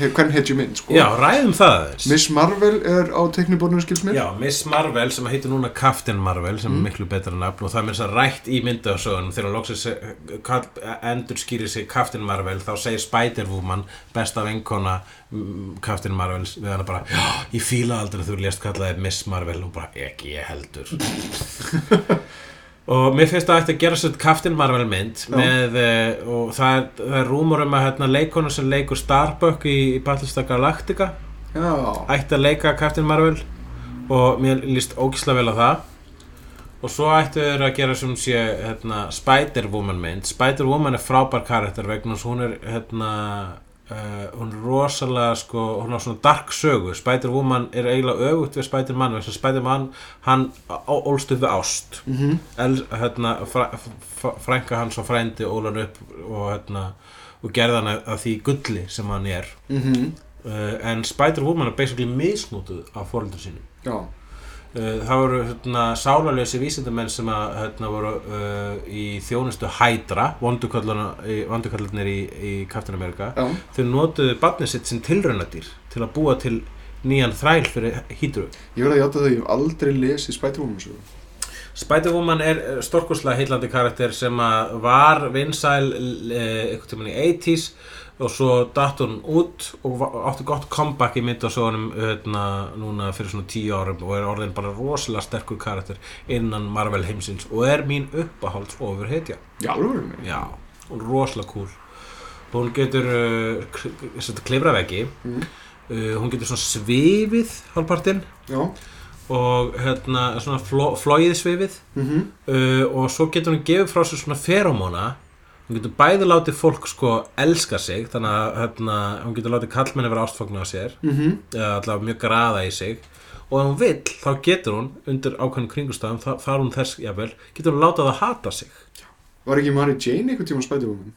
hvern hetju mynd, sko Já, ræðum það aðeins Miss Marvel er á tekniborðinu skils mér Já, Miss Marvel sem heitir núna Captain Marvel sem er miklu betra nafn og það er mér að rætt í myndasögunum þegar hún loksins eh, kall- endur skýrir sig Captain Marvel þá segir Spider-Woman besta vinkona mm, Captain Marvel við hana bara, já, ég fíla aldrei að þú lést kallaði Miss Marvel og bara, ekki ég heldur Og mér finnst það eftir að gera sér Captain Marvel mynd með, uh, og það er, það er rúmur um að hérna, leikonu sem leikur Starbuck í, í Battlestar Galactica já, ætti að leika Captain Marvel og mér líst ógislega vel á það og svo ættu þeir að gera sem sé hérna, Spider-Woman mynd Spider-Woman er frábær karakter vegna þess að hún er hérna, uh, hún er rosalega sko, hún á svona dark sögu Spider-Woman er eiginlega öfugt við Spider-Man vegna þess að Spider-Man hann á- ólst upp við ást mm -hmm. El, hérna, fræ, fræ, frænka hans og frændi ólan upp og, hérna, og gerða hann að því gulli sem hann er mhm, uh, en Spider-Woman er basically misnótuð af fóreldur sínum já uh, það voru hérna, sálarlösi vísindamenn sem að, hérna, voru uh, í þjónustu Hydra vandukallarnir í, í Captain America já, þau notuðu barnið sitt sem tilraunadýr til að búa til nýjan þræl fyrir Hydru ég verði að játa það að ég hef aldrei lesið Spider-Woman sögu Spider-Woman er storkuslega heillandi karakter sem að var vinsæl eh, einhvern tímann í 80s og svo datt hún út og va- átti gott comeback í myndasögunum hérna, núna fyrir svona tíu árum og er orðin bara rosalega sterkur karakter innan Marvel heimsins og er mín uppahálds ofur hetja já, alveg, Já, og rosalega cool hún getur uh, klifra veggi Mm. uh, hún getur svona svifið hálfpartinn Já, og hérna svona fló, flóið svifið mhm, uh, og svo getur hún gefið frá sér svona feromóna hún getur bæði látið fólk sko elska sig þannig að hérna, hún getur látið kallmenni vera ástfagnu á sér mhm eða allavega mjög graða í sig og ef hún vill þá getur hún undir ákveðnum kringustafum þá fara hún þess jafnvel getur hún látað að hata sig Var ekki Mary Jane einhvern tíma spætibúmin?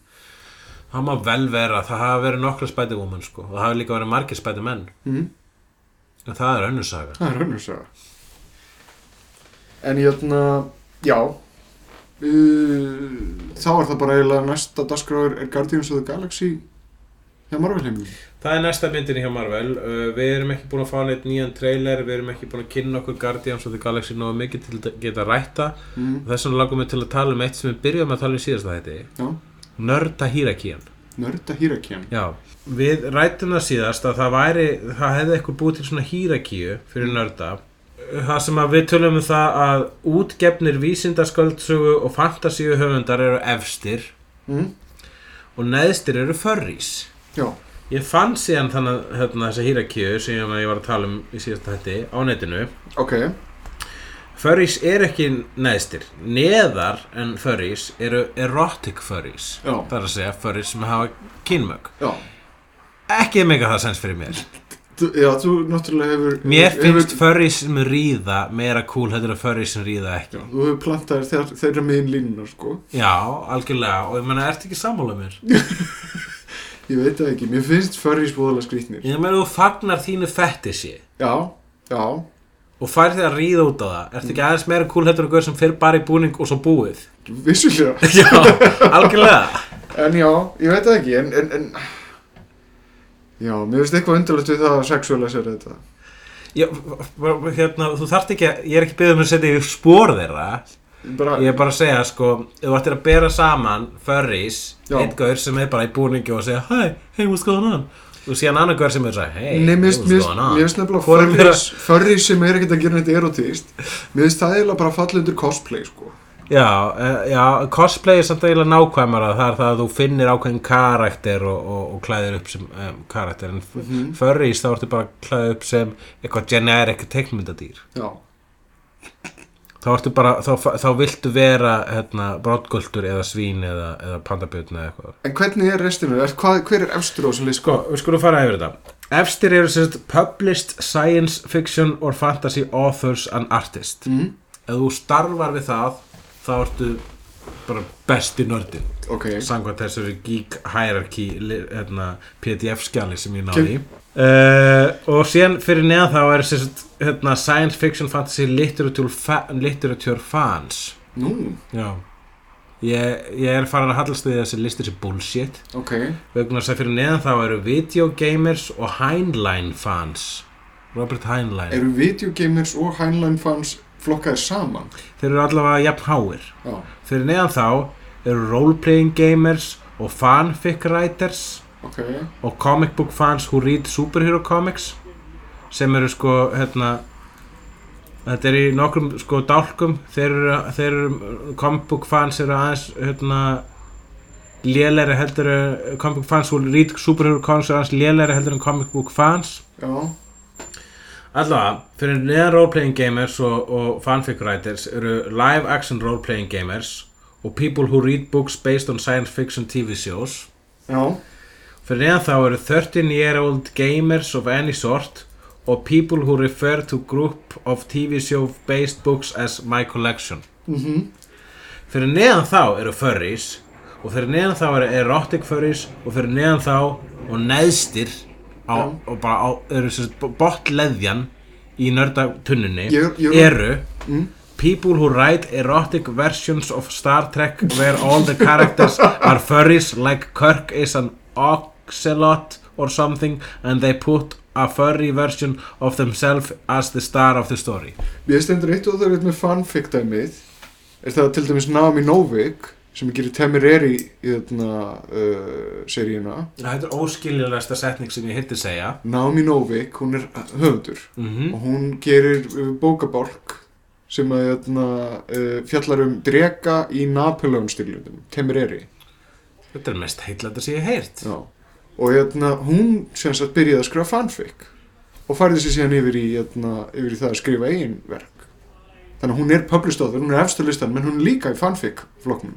það má vel vera, það hafa verið nokkra spætigumenn sko og það hafa líka verið margir spætumenn Mhm, en það er önnur saga það er önnur saga En hérna, já uh, Þá er það bara eiginlega næsta dagskráður er Guardians of the Galaxy hjá Marvel heimilum Það er næsta myndin hjá Marvel uh, Við erum ekki búin að fá neitt nýjan trailer Við erum ekki búin að kynna okkur Guardians of the Galaxy Nóðu mikið til að geta rætta mm, Þess vegna langum við til að tala um eitt sem við byrjum að tala um síðast að þetta Já, Nörda Hírakían Nörda Hirakian Já, við rættum það síðast að það væri Það hefði eitthvað búið til svona hírakíu Fyrir nörda Það sem að við tölum um það að útgefnir vísindasköldsugu og fantasíu höfundar eru efstir mm, og neðstir eru förrís. Já, Ég fann síðan þannig að hérna, þessa hýrakjöðu sem ég var að tala um í síðasta hætti á netinu. ok Furries er ekki neðstir. Neðar en furries eru erotic furries. Já. Það er að segja furries sem hafa kynmög. Já, Ekki mega það sens fyrir mér. þú, já, þú náttúrulega hefur Mér hefur- finnst furries sem ríða meira cool heldur að furries sem ríða Já, ekki. þú hefur plantað þér þeirra- þeirra megin línuna, sko. Já, algjörlega. Og ég meina, ertu ekki sammála mér? Ég veit það ekki, mér finnst furries búðalega skrýtnir. Ég meina, þú fagnar þínu fettisi Já, já, og fær þig að ríða út á það. Ertu ekki aðeins meira cool heldur að gauð sem fyrir bara í búning og svo búið? vissulega. Já, algjörlega En já, ég veit það ekki, en, en, en... Já, mér finnst eitthvað undarlegt við það að sexuála sér þetta. Já, hérna, Þú þarft ekki að, ég er ekki byggðum að setja í spór þeirra Bara, Ég er bara að segja, sko, ef þú ættir að bera saman Furries, Já. einn gaur sem er bara í búningi og segja Hi, hey, what's going on? Og síðan annar gaur sem er að segja Hey, Nei, mér finnst- what's mér finnst going on? mér finnst nefnilega sko, Hvor er meira- furries, furries sem er ekkert að gera neitt erotíst. Mér finnst það eiginlega bara falla undir cosplay, sko. Já, eh, já, cosplay er samt eiginlega nákvæmara Það er það að þú finnir ákveðin karakter og, og, og klæðir upp sem um, karakter En mm Mhm. furries þá ertu bara að klæða upp sem eitthvað generic teiknmyndadýr Já, þá, ertu bara, þá, þá viltu vera hérna, brottgöldur eða svín eða, eða pandabjörn eða eitthvað en hvernig er restinu? Er, hvað, hver er efstur á þessum list? Sko, við skulum fara yfir þetta Efstir eru sérst Published Science Fiction or Fantasy Authors and Artists Mm, Ef þú starfar við það þá ertu bara besti nördin ok, Sangvað þessari geek hierarchy li- hérna, pdf skjali sem ég Kjö- náði í Uh, og síðan fyrir neðan þá er sérst, hérna, science fiction fantasy literature, fa literature fans nú, Já Ég, ég er farin að hallast því að þessi listir sem bullshit ok, vegna þess að fyrir neðan þá eru videogamers og Heinlein fans Robert Heinlein eru videogamers og Heinlein fans flokkaðir saman? Þeir eru allavega jafn háir Já, Fyrir neðan þá eru roleplaying gamers og fanfic writers ok, og comic book fans who read superhero comics sem eru sko hérna Þetta er í nokkrum sko dálkum þeir eru, þeir eru comic book fans eru aðeins hérna lélæri heldur en- comic book fans who read superhero comics eru aðeins lélæri heldur en comic book fans já, Allavega, fyrir neðan roleplaying gamers og, og fanfic writers eru live action roleplaying gamers og people who read books based on science fiction TV shows já, Fyrir neðan þá eru 13 year old gamers of any sort og people who refer to group of TV show based books as my collection. mhm, Fyrir neðan þá eru furries og fyrir neðan þá eru erotic furries og fyrir neðan þá og neðstir á, Já. og bara á, eru sem sagt botleðjan í nördatunnunni Ég- ég- eru Mm. people who write erotic versions of Star Trek where all the characters are furries like Kirk is an oxalot or something and they put a furry version of themselves as the star of the story Ég stendur eitt og það er eitt með fanfic dæmið er það til dæmis Naomi Novik sem gerir Temereri í þarna uh, seríuna Þetta er óskiljulegasta setning sem ég hitti segja Naomi Novik, hún er uh, höfundur mm og hún gerir uh, bókabálk sem að hérna, þarna, uh, fjallar um drega í Napoleon stílundum, Temereri Þetta er mest heillandi sem ég hef heyrt. Já. Og hérna, hún sem sagt byrjaði að skrifa fanfic og færði sér síðan yfir í, hérna, yfir í það að skrifa eigin verk. Þannig að hún er published author, hún er efstu listan, menn hún er líka í fanfic flokknum.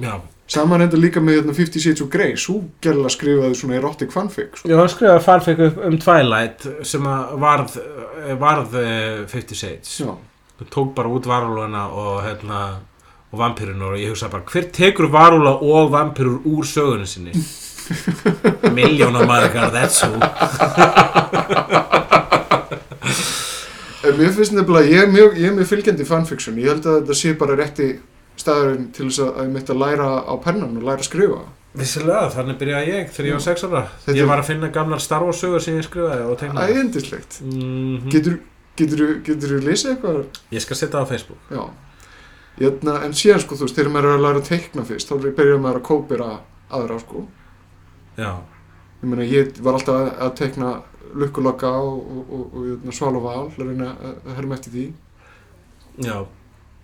Já. Saman enda líka með hérna, 50 Shades of Grey, svo gerðilega skrifaði svona erotic fanfic. Sko. Ég var að skrifa fanfic upp um Twilight sem að varð, eh, varð eh, 50 Shades. Já, Hún tók bara út varúlana og, hérna, og vampirinu og ég hugsa bara hver tekur varúla og vampirur úr sögunni sinni? Miljónar margar, that's who. en Eh, mér finnst nefnilega, ég er mjög, ég er mjög fylgjandi fanfiction, ég held að þetta sé bara rétti staðurinn til þess að, að ég mitt að læra á pennan og læra að skrifa. Vissilega, þannig byrjaði ég þegar ég var 6 ára. Þetta- Ég var að finna gamlar Star Wars sögur sem ég skrifaði og Það er tegnaði. endislegt. Mm Getur, getur, getur lesið eitthvað Ég skal setja það á Facebook. Já, Jötna, en síðan sko þú veist, þegar maður er að læra að teikna fyrst, þá byrjar maður að kópira aðra sko. Já. Ég meina, ég var alltaf að, að teikna lukkulokka og, og, og, og jötna, sval og val, að reyna að að herma eftir því. Já,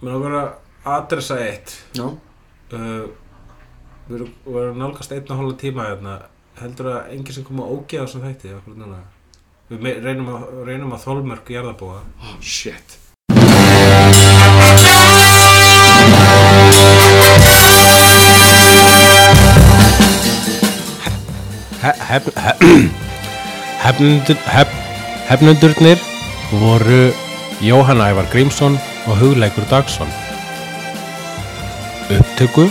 mér langar að adressa eitt Já, uh, Við erum við erum að nálgast einn og hóla tíma hérna Heldur að enginn sem kom að ógeða sem þætti akkur núna Við me- reynum að, reynum að þólmörk jarðabúa oh shit. Hefnundurnir voru Jóhann Ævar Grímsson og Hugleikur Dagsson. Upptöku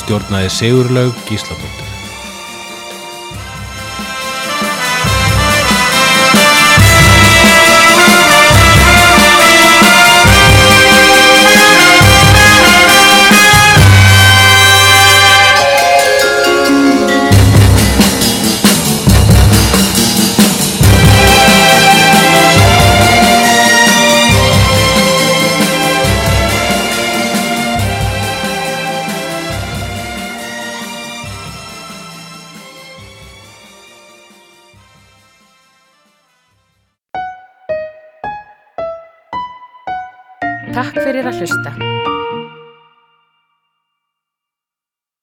stjórnaði Sigurlaug Gísladóttir. Takk fyrir að hlusta.